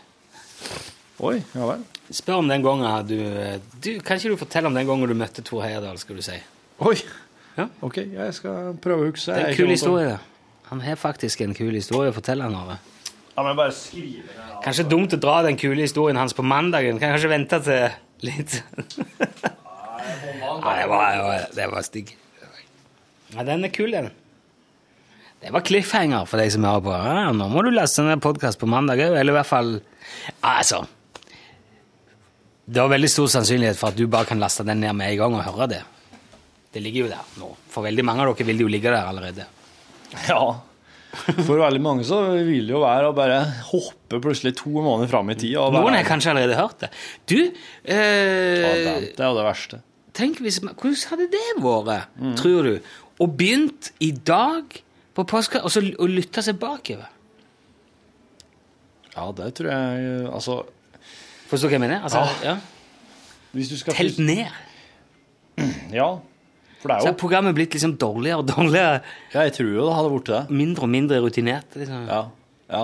C: Oi, ja vel.
B: Spør om den gangen du, eh, du Kan ikke du fortelle om den gangen du møtte Thor Heyerdahl, skal du si?
C: Oi.
B: Ja.
C: Ok, jeg skal prøve å huske.
B: Det er
C: Jeg
B: en kul
C: kommer til-
B: historie. Han har faktisk en kul historie å fortelle. han Are.
C: Ja, men bare skrive det. da.
B: Kanskje dumt å dra den kule historien hans på mandagen. Kan kanskje vente til litt Nei, det var, det var, det var stygg. Nei, den er kul, den. Det var cliffhanger for deg som hører på. Ja, nå må du laste ned podkast på mandag òg, eller i hvert fall Altså Det er veldig stor sannsynlighet for at du bare kan laste den ned med en gang og høre det. Det ligger jo der nå. For veldig mange av dere vil det jo ligge der allerede.
C: Ja. For veldig mange så vil det jo være å bare hoppe plutselig to måneder fram i tid. og
B: Noen har
C: være-
B: kanskje allerede hørt det. Du eh,
C: Det er jo det verste.
B: Tenk hvis man, Hvordan hadde det vært,
C: Mm.
B: tror du? Og begynt i dag på påske, og så l- og lytta seg bakover?
C: Ja, det tror jeg eh, Altså
B: Forstår du hva jeg mener?
C: Ah,
B: Altså, ja.
C: Hvis du skal
B: Telt ned.
C: Ja. For det
B: Så
C: er
B: har
C: jo
B: programmet blitt liksom dårligere og dårligere.
C: Ja, jeg tror jo det hadde blitt det.
B: Mindre og mindre rutinert. Liksom.
C: Ja. ja.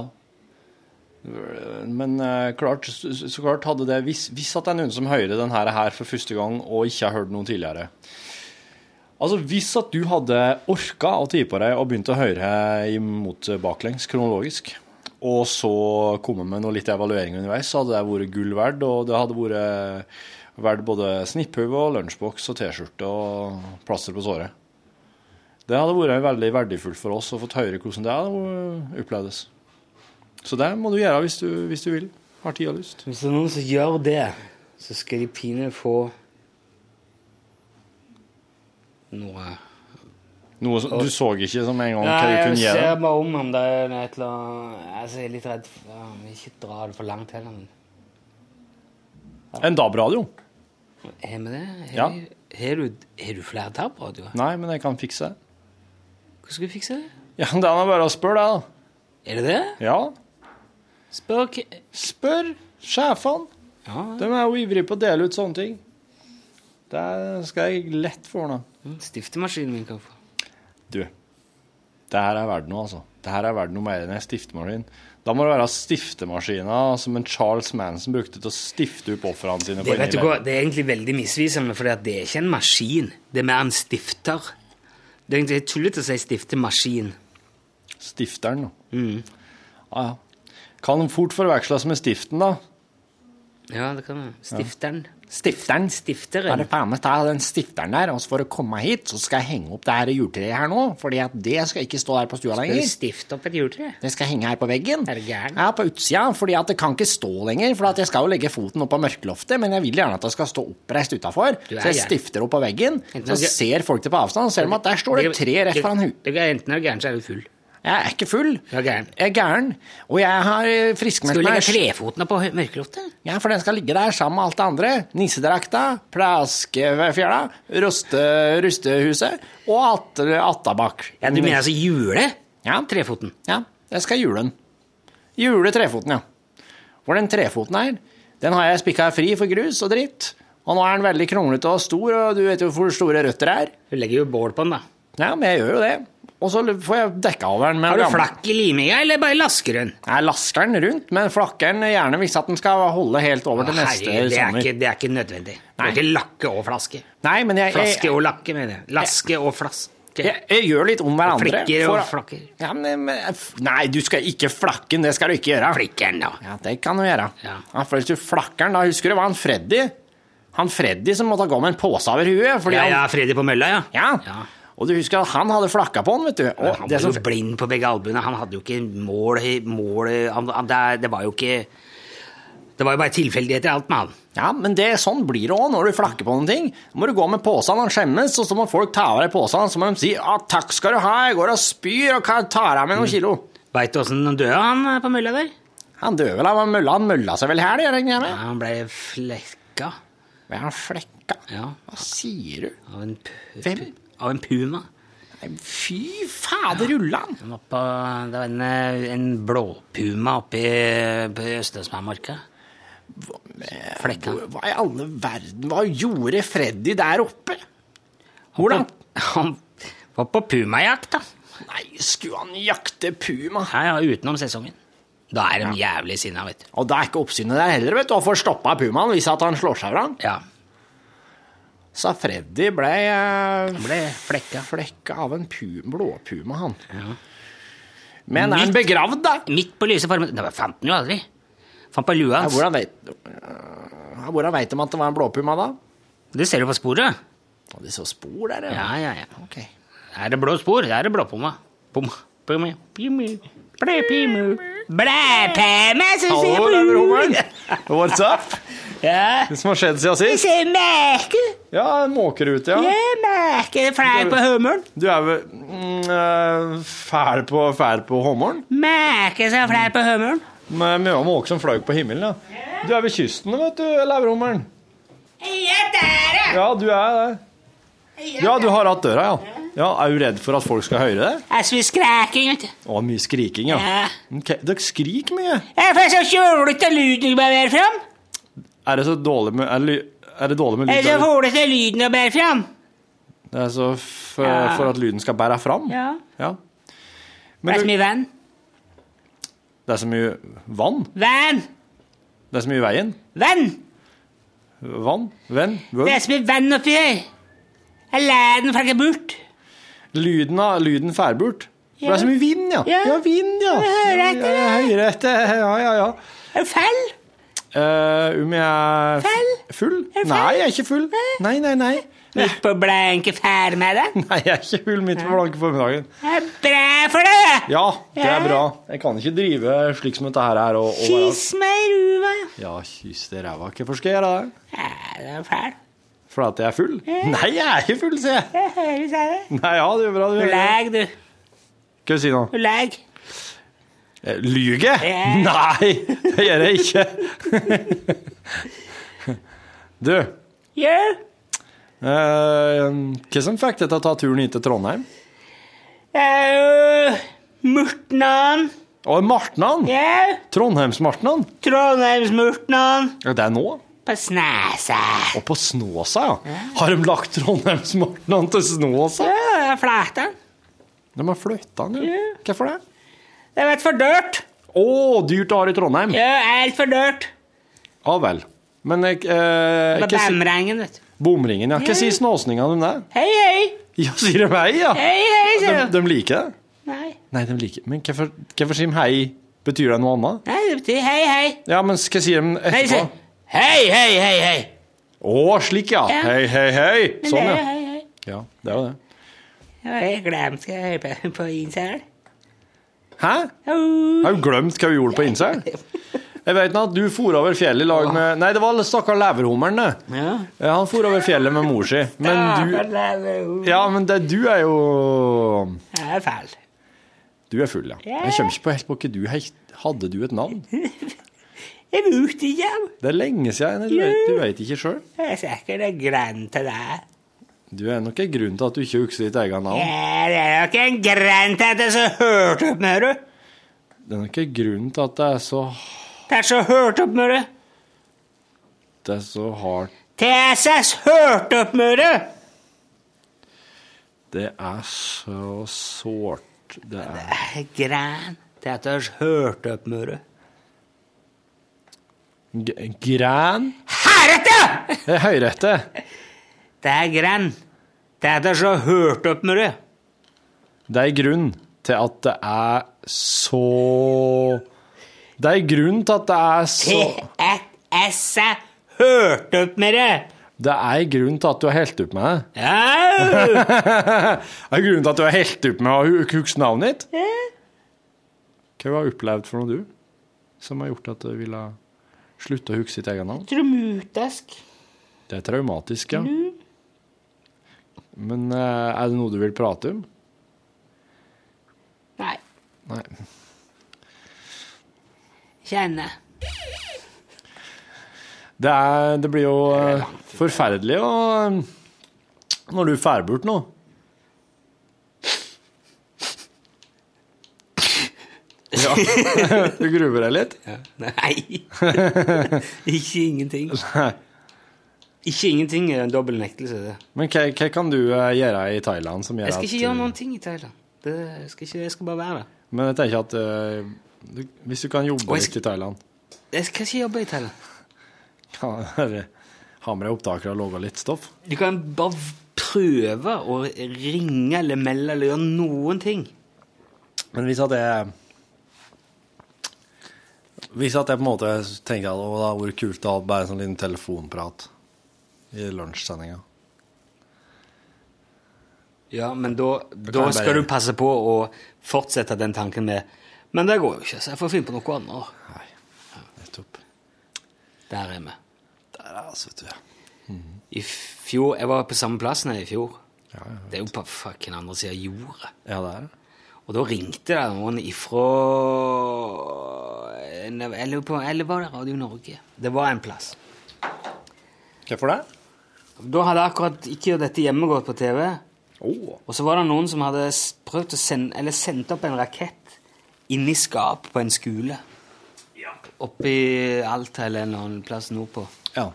C: Men eh, klart, så, så klart hadde det hvis, hvis at det er noen som hører den her, her for første gang og ikke har hørt noe tidligere Altså, Hvis at du hadde orka å tie på deg og begynt å høre imot baklengs kronologisk, og så komme med noe litt evaluering underveis, så hadde det vært gull verdt. Og det hadde vært verdt både snipphue og lunsjboks og T-skjorte og plaster på såret. Det hadde vært veldig verdifullt for oss å fått høre hvordan det hadde opplevdes. Så det må du gjøre hvis du, hvis du vil. Har tid og lyst.
B: Hvis det er noen som gjør det, så skal de pinlig få noe
C: Noe som, du så ikke som en gang hva
B: Nei,
C: du
B: jeg
C: kunne gjøre.
B: ser bare om om det er et eller annet altså, Jeg er litt redd for ja, men Ikke dra det for langt heller. men-
C: En DAB-radio?
B: Har vi det? Har
C: Ja.
B: vi- Har du, har du flere DAB-radioer?
C: Nei, men jeg kan fikse det.
B: Hvordan skal vi fikse det?
C: Ja, Det er nå bare å spørre deg,
B: Er det det?
C: da. Ja.
B: Spør hva-
C: Spør sjefene. De er jo ivrige på å dele ut sånne ting. Det skal jeg lett få ordna.
B: Mm, Stiftemaskinen min kan få.
C: Du, det her er verdt noe, altså. Det her er verdt noe mer enn en stiftemaskin. Da må det være stiftemaskiner som en Charles Manson brukte til å stifte opp ofrene sine.
B: Det,
C: på
B: vet du hva,
C: innilevelse.
B: det er egentlig veldig misvisende, for det er ikke en maskin. Det er mer en stifter. Det er egentlig helt tullete å si stiftemaskin.
C: Stifteren, da. Ja, ja. Kan fort forveksles med stiften, da.
B: Ja, det kan være. Stifteren.
C: Stifteren.
B: Stifteren.
C: faen meg ta den stifteren der, og så får du komme hit, så skal jeg henge opp det her juletreet her nå, fordi at det skal ikke stå her på stua
B: Skal du stifte opp et juletre?
C: Det skal henge her på veggen.
B: Er du gæren?
C: Ja, på utsida, fordi at det kan ikke stå lenger. For at jeg skal jo legge foten opp på mørkeloftet, men jeg vil gjerne at det skal stå oppreist utafor.
B: Du er
C: Så jeg
B: gæren.
C: stifter opp på veggen,
B: Enten
C: så
B: er du-
C: ser folk det på avstand, og ser de at der står det et tre rett foran huet.
B: Det er Enten er du gæren, så er du full.
C: Jeg er ikke full,
B: Du er gæren.
C: jeg er gæren, og jeg har eh, friskmeldt
B: Skal du
C: meg.
B: legge trefotene på hø- mørkeloftet?
C: Ja, for den skal ligge der sammen med alt det andre. Nissedrakta, plaskefjæra, ruste, rustehuset og eh, at, attabakk.
B: Ja, du mener altså jule?
C: Ja.
B: Trefoten.
C: Ja, jeg skal jule den. Jule trefoten, ja. For den trefoten her, den har jeg spikka fri for grus og dritt. Og nå er den veldig kronglete og stor, og du vet jo hvor store røtter det er.
B: Du legger jo bål på den, da.
C: Ja, men jeg gjør jo det. Og så får jeg dekka over den med
B: Har du
C: gammel-
B: flakk i liminga, eller bare lasker den?
C: Jeg lasker den rundt, men flakker den gjerne hvis at den skal holde helt over til neste
B: Herregud, det er,
C: sommer.
B: ikke, det er ikke nødvendig. Du
C: Nei.
B: kan ikke lakke og flaske.
C: Nei, men jeg,
B: Flaske
C: jeg,
B: og lakke, mener jeg. Laske og flaske.
C: jeg, jeg gjør litt om hverandre.
B: Flikker og
C: for-
B: flakker.
C: Ja, men, men, f- nei, du skal ikke flakke den, det skal du ikke gjøre.
B: Flikker den, da.
C: Ja, det kan du gjøre.
B: Ja.
C: Ja, for hvis du flakker den, da husker du, var han Freddy? Han Freddy som måtte gå med en pose over huet. Fordi
B: Ja, ja,
C: han,
B: Freddy på mølla, ja.
C: ja.
B: Ja.
C: Og du husker at han hadde flakka på han, vet du. Og
B: Han
C: det
B: var
C: som,
B: jo blind på begge albuene. Han hadde jo ikke mål, mål han, han, det, det var jo ikke Det var jo bare tilfeldigheter, alt med han.
C: ja, men det, sånn blir det òg når du flakker på noen ting. Da må du gå med posen, han skjemmes, og så må folk ta av deg posen. Så må de si ja, 'takk skal du ha, jeg går og spyr og ka- tar av meg noen kilo'.
B: Veit du åssen han døde, han eh, på mølla der?
C: Han døde vel av en mølla, han mølla seg vel her, det gjør han ikke
B: Ja,
C: det?
B: han ble flekka
C: Men han flekka?
B: Ja.
C: Hva sier du?
B: av en, pu-
C: Hvem?
B: av en puma.
C: Nei, Fy fader, rullan!
B: Han var på, det var en, eh, en blåpuma oppe i- på Østlandsmarka. Flekka.
C: Hva i alle verden, hva gjorde Freddy der oppe? Hvordan?
B: Han var på pumajakt, da.
C: Nei, skulle han jakte puma?
B: Ja, ja, utenom sesongen. Da er de jævlig sinna, vet du.
C: Og det er ikke oppsynet der heller, vet du, å få stoppa pumaen hvis at han slår seg fra.
B: Ja.
C: Så Freddy ble, eh,
B: Han ble flekka.
C: flekka av en pu- blåpuma, han. Men er han begravd, da?
B: Midt på lyse formen. Nei, fant den jo aldri. Fant på lua
C: Ja,
B: hans.
C: hvordan vet, ja, hvordan vet de at det var en blåpuma, da?
B: Det ser du på sporet.
C: Å, Det er så spor der,
B: Ja, ja, ja.
C: Ok.
B: Er det blå spor? Der er det blåpomma. Pom. Pom. Pom. Blæpimu. Blæpæma, som
C: Hallo,
B: ser
C: det er
B: på
C: Robert. What's up?
B: Ja,
C: Hva som har skjedd siden
B: det
C: sist?
B: ser merke.
C: Ja, måkerute, ja.
B: Jeg merker det fæl på hummeren.
C: Du er vel mm, eh, fæl på, fæl på hummeren?
B: Merker så fæl på hummeren.
C: Med mye måke som fløy på himmelen, ja. Du er ved kysten, vet du, lauvhummeren. Ja, du er det. Ja, du har hatt døra, ja. Ja, Er du redd for at folk skal høre det?
B: Jeg synes skræking, vet du.
C: Å, mye skriking, ja.
B: Ja.
C: Ok, Dere skriker mye.
B: Jeg får så kjolete lyden å bære fram.
C: Er det så dårlig med Er, ly- er det dårlig med
B: Jeg er så
C: lyd?
B: kjolete lyden å bære fram.
C: Det er så f
B: Ja.
C: for at lyden skal bære fram?
B: Ja.
C: Ja.
B: Det er så mye vann.
C: Det er så mye vann.
B: Vann!
C: Det er så mye i veien.
B: Vann!
C: Vann. Venn.
B: Det
C: Vøl.
B: er så mye vann oppi her. Jeg lærer den flakke bort.
C: Lyden av lyden færburt. For
B: Ja.
C: det er så mye vind, ja. Ja, vind, ja.
B: Jeg hører etter
C: Ja,
B: det.
C: jeg hører etter. Ja, ja, ja.
B: Er du fell?
C: Eh, om jeg er f- full? Nei, jeg er ikke full. Nei, nei, nei.
B: Midt på blanke færmiddag.
C: Nei, jeg er ikke full midt på blanke formiddagen.
B: Det er bra for deg.
C: Ja, det er
B: Ja.
C: bra. Jeg kan ikke drive slik som dette her er. Og, og være-
B: Kyss meg i ruva.
C: Ja, kyss det ræva. Hvorfor skal jeg gjøre det?
B: Ja, det er fæl.
C: Fordi at jeg er full? Nei, jeg er ikke full, sier jeg.
B: Jeg hører seg.
C: Eh. Nei, ja, det gjør bra. Du
B: Du
C: gjør bra.
B: lag, du.
C: Skal vi si noe?
B: Du lag.
C: Eh, Lyge? Nei, det gjør jeg ikke. Du,
B: Ja.
C: eh, hva som fikk deg til å ta turen hit til Trondheim?
B: Jeg er jo Murtnan.
C: Å, Martnan?
B: Ja.
C: Trondheims-Martnan?
B: Trondheimsmurtnan.
C: Ja, Det er nå?
B: På snæsa.
C: Og på Snåsa, ja. Har de lagt Trondheims-Martnan til Snåsa?
B: Ja, det er flætan.
C: De har flytta den, ja. Hvorfor det?
B: Det har vært for dyrt.
C: Å, dyrt å ha i Trondheim.
B: Ja, alt for dyrt.
C: Ja vel. Men eh, eh,
B: Med
C: hva si-
B: bæmrengen, vet du.
C: Bomringen, ja. Hva sier snåsningene om det?
B: Hei, hei.
C: Ja, sier de hei, ja?
B: Hei, hei,
C: de,
B: sier du.
C: de liker det?
B: Nei.
C: Nei, de liker Men hvorfor, hvorfor sier de hei? Betyr det noe annet?
B: Nei, det betyr hei, hei.
C: Ja, men hva sier de
B: Nei, de
C: etterpå?
B: sier hei, hei, hei, hei.
C: Å, slik, ja.
B: Ja.
C: Hei, hei, hei.
B: Men
C: Sånn,
B: det er
C: ja.
B: hei, hei.
C: Ja, det er jo det.
B: Ja, jeg glemte hva jeg hørte på- på Insel.
C: Hæ? Har du glemt hva du gjorde på Innsel? Jeg vet nå at du for over fjellet i lag med Nei, det var stakkar leverhummeren, det.
B: Ja.
C: Ja, han for over fjellet med mor si. Men du Ja, men det, du er jo
B: Jeg er fæl.
C: Du er full, ja. Jeg kommer ikke på helt på hva du het. Hadde du et navn?
B: Jeg vet ikke. jeg.
C: Det er lenge siden. Du vet, du vet ikke sjøl.
B: Jeg er sikkert en grann til deg.
C: Du er nok en grunn til at du ikke husker ditt eget navn.
B: Ja, det er nok en grann til at jeg så hørt opp med det.
C: Det er nok en grunn til at det er så,
B: Det er så hørt opp med det.
C: det er så hardt
B: Til jeg så hørt opp med det.
C: Det er så sårt. Det er
B: Grann til at jeg så hørt opp med det.
C: G- Græn?
B: Herrette!
C: Det er høyrette.
B: Det er grann til at jeg så hørt opp med det.
C: Det er en grunn til at det er så Det er en grunn til at det er så
B: Til at jeg så hørt opp med det.
C: Det er en grunn til at du har helt opp med det.
B: Au!
C: det er en grunn til at du har helt opp med å hu- huske navnet ditt.
B: Ja.
C: Hva har du opplevd for noe, du, som har gjort at du ville slutte å huske ditt eget navn?
B: Trumutesk.
C: Det er traumatisk, ja.
B: Mm.
C: Men eh, er det noe du vil prate om?
B: Nei,
C: Nei.
B: kjenne.
C: Det, er, det blir jo eh, forferdelig å eh, Når du drar bort nå. Ja. Du gruver deg litt?
B: Nei. ikke ingenting.
C: Nei.
B: Ikke ingenting er en dobbel nektelse. det.
C: Men hva, hva kan du eh, gjøre i Thailand som gjør
B: Jeg skal
C: at eh,
B: ikke gjøre noen ting i Thailand. Det jeg skal ikke, jeg skal bare være der.
C: Men jeg tenker at eh, du, hvis du kan jobbe
B: Og jeg
C: litt i Thailand
B: Jeg skal ikke jobbe i Thailand.
C: kan jeg Ha med deg opptakere og lage litt stoff.
B: Du kan bare prøve å ringe eller melde eller gjøre noen ting.
C: Men hvis at jeg Hvis at jeg på en måte tenker at å, det hadde vært kult å ha bare en sånn liten telefonprat i lunsjsendinga.
B: Ja, men da,
C: kan
B: da
C: jeg
B: skal
C: bare-
B: du passe på å fortsette den tanken med Men det går jo ikke, så jeg får finne på noe annet.
C: Nettopp.
B: Der er vi.
C: Der er altså, vet du.
B: I fjor, Jeg var på samme plassen her i fjor. det er jo på fucking andre sida av jordet.
C: Ja, det er det.
B: Og da ringte det noen ifra Jeg lurer på Eller var det Radio Norge? Det var en plass.
C: Hvorfor det?
B: Da hadde akkurat ikke dette hjemmegått på TV. Og så var det noen som hadde s- prøvd å sende Eller sendt opp en rakett inni skap på en skole. Oppi Alta eller en annen plass nordpå.
C: Ja.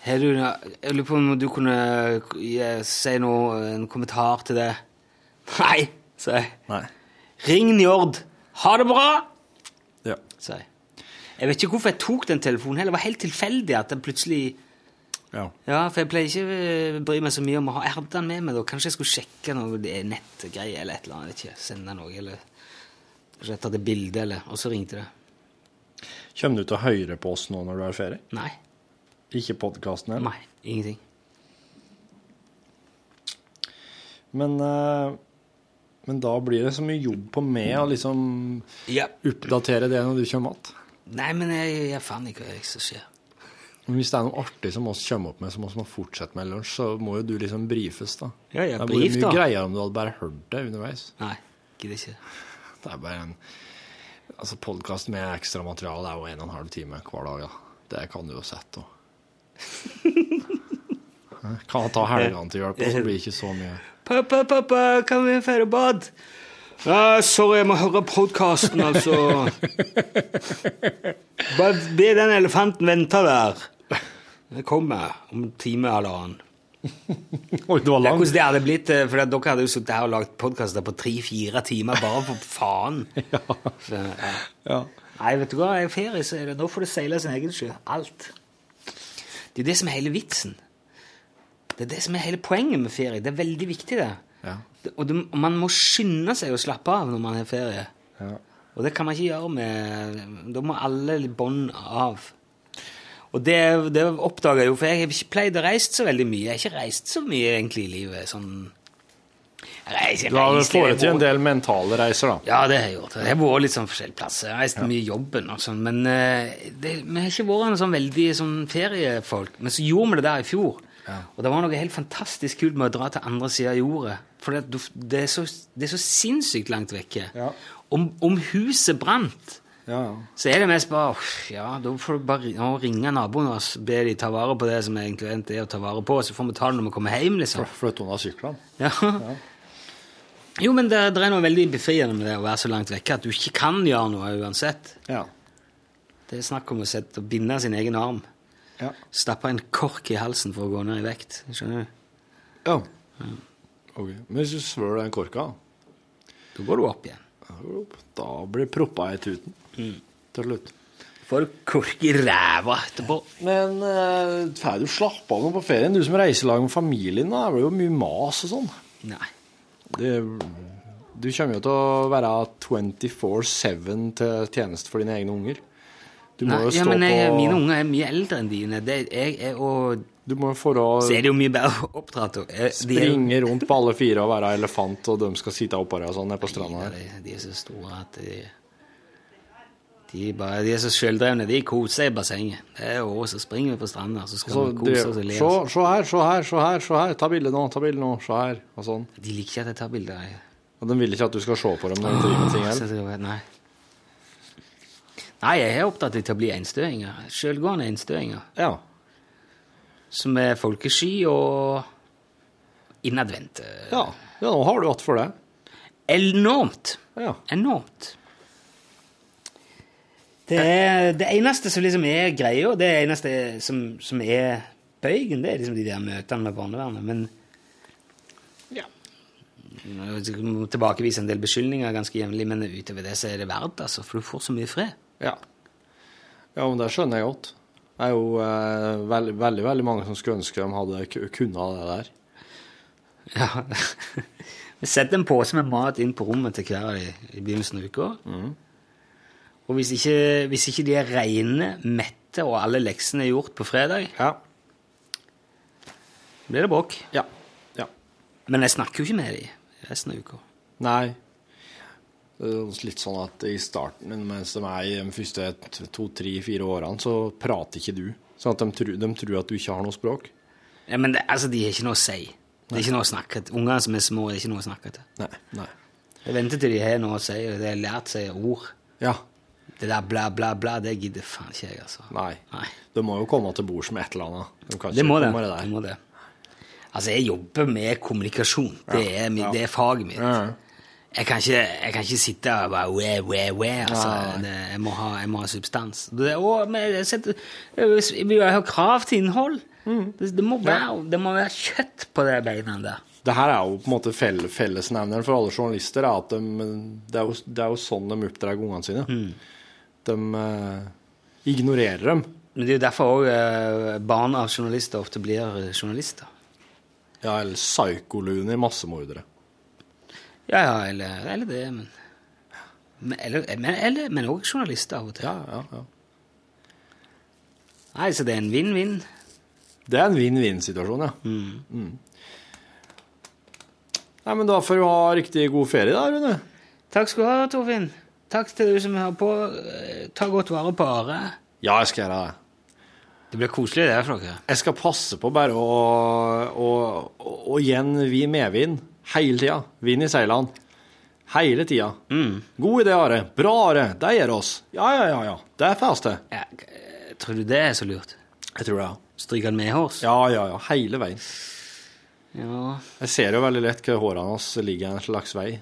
B: Har du, jeg lurer på om du kunne gi- si noe, en kommentar til det. Nei, sa jeg. Ring Njord. Ha det bra!
C: Ja.
B: sa jeg. Jeg vet ikke hvorfor jeg tok den telefonen heller. Det var helt tilfeldig at den plutselig
C: Ja.
B: for jeg pleier ikke å bry meg så mye om å ha Jeg hadde den med meg da. Kanskje jeg skulle sjekke noe det er nettgreier eller et eller annet. Ikke sende noe, eller kanskje jeg tatt et bilde, eller Og så ringte det.
C: Kommer du til å høre på oss nå når du er i ferie?
B: Nei.
C: Ikke podkasten heller?
B: Nei, ingenting.
C: Men, eh, men da blir det så mye jobb på meg å liksom oppdatere det når du kommer tilbake.
B: Nei, men jeg, jeg fant ikke hva som skjer.
C: Men hvis det er noe artig som oss kommer opp med, som oss må fortsette med i lunsj, så må jo du liksom brifes, da.
B: Ja, jeg
C: det blir
B: brif,
C: mye
B: da.
C: greiere om du hadde bare hørt det underveis.
B: Nei, gidder ikke.
C: Det er bare en Altså, podkast med ekstra materiale er jo en og en halv time hver dag, da. Det kan du jo sette, da. Hæ? Kan ta helgene til hjelp, og så blir det ikke så mye.
B: Pappa, pappa, kan vi fære bad? Ja, sorry, jeg må høre podkasten, altså. Bare be den elefanten vente der. Den kommer om en time eller annen.
C: Oi, det var
B: langt. hvordan det hadde blitt, eh, for at dere hadde jo sittet her og lagd podkaster på tre-fire timer, bare for faen. Så, ja. Nei, vet du hva, i ferie så er det, nå får det seile sin egen sjø. Alt. Det er det som er hele vitsen. Det er det som er hele poenget med ferie. Det er veldig viktig, det.
C: Ja.
B: Det- Og det, og man må skynde seg å slappe av når man har ferie. Og det kan man ikke gjøre med Da må alle bånd av. Og det, det oppdaga jeg jo, for jeg har ikke pleid å reise så veldig mye. Jeg har ikke reist så mye egentlig i livet. sånn... Reise,
C: Du har
B: reise,
C: foretatt
B: jeg
C: en del mentale reiser, da.
B: Ja, det har jeg gjort. Jeg har vært litt sånn forskjellige plasser. Jeg har reist mye i jobben og sånn, men eh, det, vi har ikke vært en sånn veldig sånn feriefolk. Men så gjorde vi det der i fjor, og det var noe helt fantastisk kult med å dra til andre sida av jordet. For det, du- det, er, så, det er så sinnssykt langt vekke. Om, om huset brant, så er det mest bare «Åh, Ja, da får du bare ri- nå ringe naboen og så be de ta vare på det som egentlig er å ta vare på, og så får vi ta det når vi kommer hjem, liksom.
C: Flytte unna syklene.
B: Ja. Jo, men det, det er noe veldig befriende med det å være så langt vekke at du ikke kan gjøre noe uansett. Det er snakk om å, sette, å binde sin egen arm.
C: Ja.
B: Stappe en kork i halsen for å gå ned i vekt. Skjønner du?
C: Ja. Ok, Men hvis du svør den korka,
B: da går du opp igjen.
C: Da, går du opp. da blir proppa i tuten til slutt.
B: Får du kork i ræva etterpå.
C: Men eh, får du slappe av nå på ferien? Du som reiser i lag med familien, da, det blir jo mye mas og sånn.
B: Nei.
C: Det, du kommer jo til å være 24-7 til tjeneste for dine egne unger. Du må
B: Nei,
C: jo stå
B: ja, men jeg,
C: på
B: Mine unger er mye eldre enn dine. Det, jeg er, og
C: Du må jo få å
B: så er det jo mye bedre oppdratt. og- eh, de er jo-
C: springe rundt på alle fire og være elefant, og de skal sitte oppå deg og sånn nede på stranda her.
B: De, de er så store at de De, bare, de er så sjøldrevne. De koser seg i bassenget. Det er jo så springer vi på stranda, så skal
C: Så
B: vi
C: det-
B: kose oss og le. altså.
C: Se
B: oss.
C: se her, se her, se her, se her. Ta bilde nå, ta bilde nå, se her. Og sånn.
B: De liker ikke at jeg tar bilder. jeg.
C: Og de vil ikke at du skal se på dem når de driver med ting
B: Så
C: her.
B: det var- Nei. Nei, jeg er opptatt av å bli einstøinger. Sjølgående einstøinger.
C: Ja.
B: Som er folkesky og innadvendte.
C: Ja. ja, nå har du hatt for det.
B: Enormt. Enormt. Det, er, det eneste som liksom er greia, det eneste som, som er bøygen, det er liksom de der møtene med barnevernet. Men Jeg må tilbakevise en del beskyldninger ganske jevnlig, men utover det så er det verdt, altså, for du får så mye fred.
C: Ja. ja, men det skjønner jeg godt. Det er jo eh, veldig, veldig, veldig mange som skulle ønske de hadde ku- kunnet det der.
B: Ja. Vi setter en pose med mat inn på rommet til hver av de i begynnelsen av uka. Og hvis ikke, hvis ikke de er reine, mette og alle leksene er gjort på fredag, blir det bråk.
C: Ja.
B: Men jeg snakker jo ikke med dem resten av uka.
C: Nei. Det er også litt sånn at i starten, mens de er i de første to, tre, fire årene, så prater ikke du. Sånn at de tror, de tror at du ikke har noe språk.
B: Ja, men det, altså, de har ikke noe å si. Det er ikke noe å snakke til. Unger som er små, det er ikke noe å snakke til.
C: Nei, nei.
B: Jeg venter til de har noe å si, og de har lært seg ord.
C: Ja.
B: Det der bla, bla, bla, det gidder faen ikke jeg, altså.
C: Nei. De må jo komme til bords med et eller annet. De kan
B: Det
C: ikke
B: må det.
C: komme med der.
B: det, må det. Altså, jeg jobber med kommunikasjon. Det
C: Ja,
B: er, mi-
C: ja.
B: det er faget mitt. Jeg, kan ikke, jeg kan ikke sitte og bare we, we, we, altså.
K: Nei.
B: Det, jeg, må ha, jeg må ha substans. Det, og, men jeg setter, jeg vil jo ha krav til innhold. Det, det, må være, det må være kjøtt på det beina der.
C: Det her er jo på en måte fell, fellesnevneren for alle journalister, er at de, det, er jo, det er jo sånn de oppdrar ungene sine. De eh, ignorerer dem.
B: Men det er jo derfor òg eh, barn av journalister ofte blir eh, journalister.
C: Ja, eller psykolune massemordere.
B: Ja, ja, eller, eller det, men men- eller, men, eller, men også journalister av og til.
C: Ja, ja,
B: Nei, så det er en vinn-vinn.
C: Det er en vinn-vinn-situasjon, ja. Mm. Nei, men da får du ha riktig god ferie da, Rune.
B: Takk skal du ha, Torfinn. Takk til du som hører på. Eh, Ta godt vare på Are.
C: Ja, jeg skal gjøre det.
B: Det blir koselig det her for dere.
C: Jeg skal passe på bare å, å, å, å igjen vi medvind hele tida. Vind i seilene. Hele tida. God idé, Are. Bra, Are. Det gjør oss. Ja, ja, ja. ja. Det er feste.
B: eh, Tror du det er så lurt?
C: Jeg tror det, ja.
B: Stryker han med hårs?
C: Ja, ja, ja. Hele veien.
B: Ja.
C: Jeg ser jo veldig lett hvor hårene hans ligger en slags vei.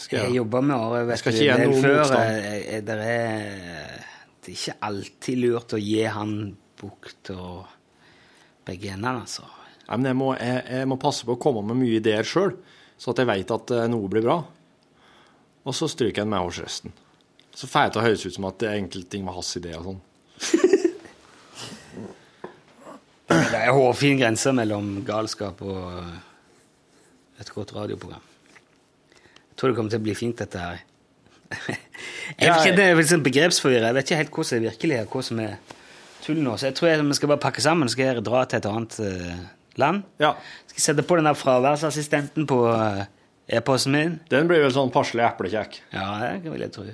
C: Skal
B: Jeg jobber med Are vet
C: Jeg skal
B: du,
C: ikke gi
B: en del
C: noe
B: før.
C: motstand.
B: Eh, eh, Det er, eh, det er ikke alltid lurt å gi han bukt og begge endene, altså.
C: Nei, men jeg må, jeg, jeg må passe på å komme med mye ideer sjøl, så at jeg veit at eh, noe blir bra. Og så stryker jeg med hos resten. Så får jeg til å høres ut som at det enkelte ting var hans idé og sånn.
B: Det er hårfin grense mellom galskap og eh, et godt radioprogram. Jeg tror det kommer til å bli fint, dette her. Jeg vet ikke, det er vel sånn begrepsforvirret. Jeg vet ikke helt hva som er virkelig, og hva som er tull nå. Så jeg tror jeg, vi skal bare pakke sammen. Skal jeg dra til et annet eh, land? Skal jeg sette på den der fraværsassistenten på eh, e-posten min?
C: Den blir vel sånn passelig eplekjekk.
B: Ja, det vil jeg tro.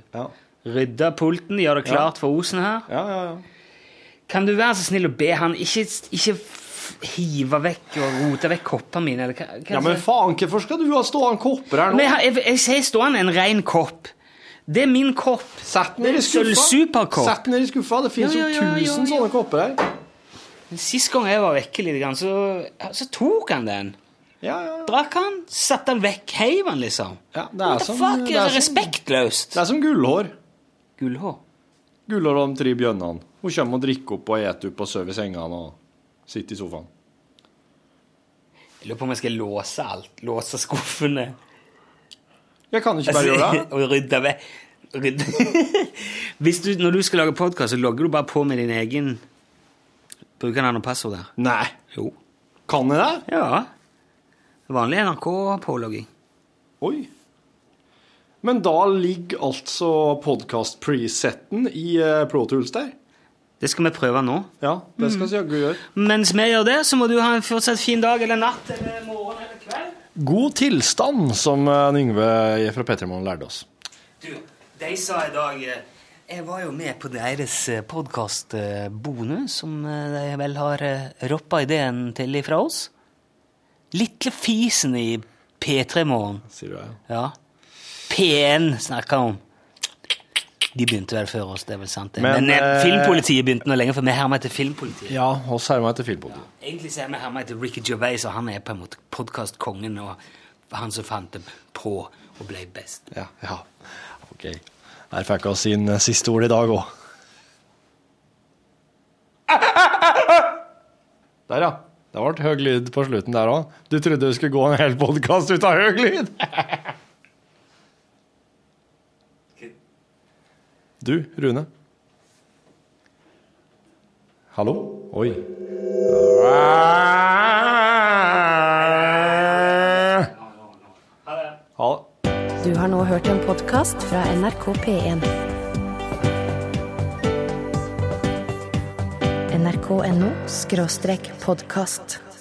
B: Rydde pulten, gjøre det klart for Osen her.
C: Ja, ja, ja.
B: Kan du være så snill å be han ikke, ikke f- hive vekk og rote vekk koppene mine? Eller hva, hva
C: Ja, men faen, hvorfor skal du ha stående kopper her nå?
B: Men jeg, har- jeg, jeg sier stående en ren kopp. Det er min kopp.
C: Sett den ned i skuffa.
B: Superkopp.
C: Sett den ned i skuffa. Det fins
B: Ja, ja,
C: jo
B: ja, ja,
C: tusen
B: ja.
C: sånne kopper her.
B: Men Sist gang jeg var vekke litt, grann, så, så tok han den. Drakk han, satte han vekk, heiv han, liksom.
C: Ja, det
B: What
C: er
B: the
C: som,
B: fuck?
C: det sånn-
B: Er
C: er
B: det
C: som-
B: respektløst?
C: Det er som gullhår.
B: Gullhår?
C: Gullhår og de tre bjønnene. Hun kommer og drikker opp og eter opp og sover i sengene og sitter i sofaen.
B: Jeg lurer på om jeg skal låse alt. Låse skuffene.
C: Jeg kan ikke
B: Altså,
C: bare gjøre det.
B: Og rydde vekk. Rydde. Hvis du, når du skal lage podkast, så logger du bare på med din egen brukernavn og passord der.
C: Nei.
B: Jo.
C: Kan jeg det?
B: Ja. Vanlig NRK-pålogging.
C: Oi. Men da ligger altså podkast-presetten i eh, Pro Tools der.
B: Det skal vi prøve nå.
C: Ja, det
B: Mm.
C: skal vi jaggu gjøre.
B: Mens vi gjør det, så må du ha en fortsatt fin dag eller natt eller morgen eller kveld.
C: God tilstand, som eh, Yngve fra Pettermoen lærte oss.
B: Du, de sa i dag eh, Jeg var jo med på deres eh, podkast Bonus, som eh, de vel har eh, roppa ideen til ifra oss. Litle fisen i P3 Morgen.
C: Sier du det?
B: Ja. P1 snakka om. De begynte vel før oss, det er vel sant. det. Men,
C: Men,
B: eh,
C: eh,
B: filmpolitiet begynte nå lenge, for vi hermer etter filmpolitiet.
C: Ja, oss hermer etter filmpodiet.
B: Egentlig så er vi hermet etter Ricky Gervais, og han er på en måte podkastkongen og han som fant det på og ble best.
C: Ja, ja. Ok. Der fikk vi sin eh, siste ord i dag òg. Der, ja. Det ble høy lyd på slutten der òg. Du trodde du skulle gå en hel podkast ut av høy lyd? Du, Rune. Hallo? Oi. Ha det.
A: Du har nå hørt en podkast fra NRK P1. NRK.no skråstrek podkast.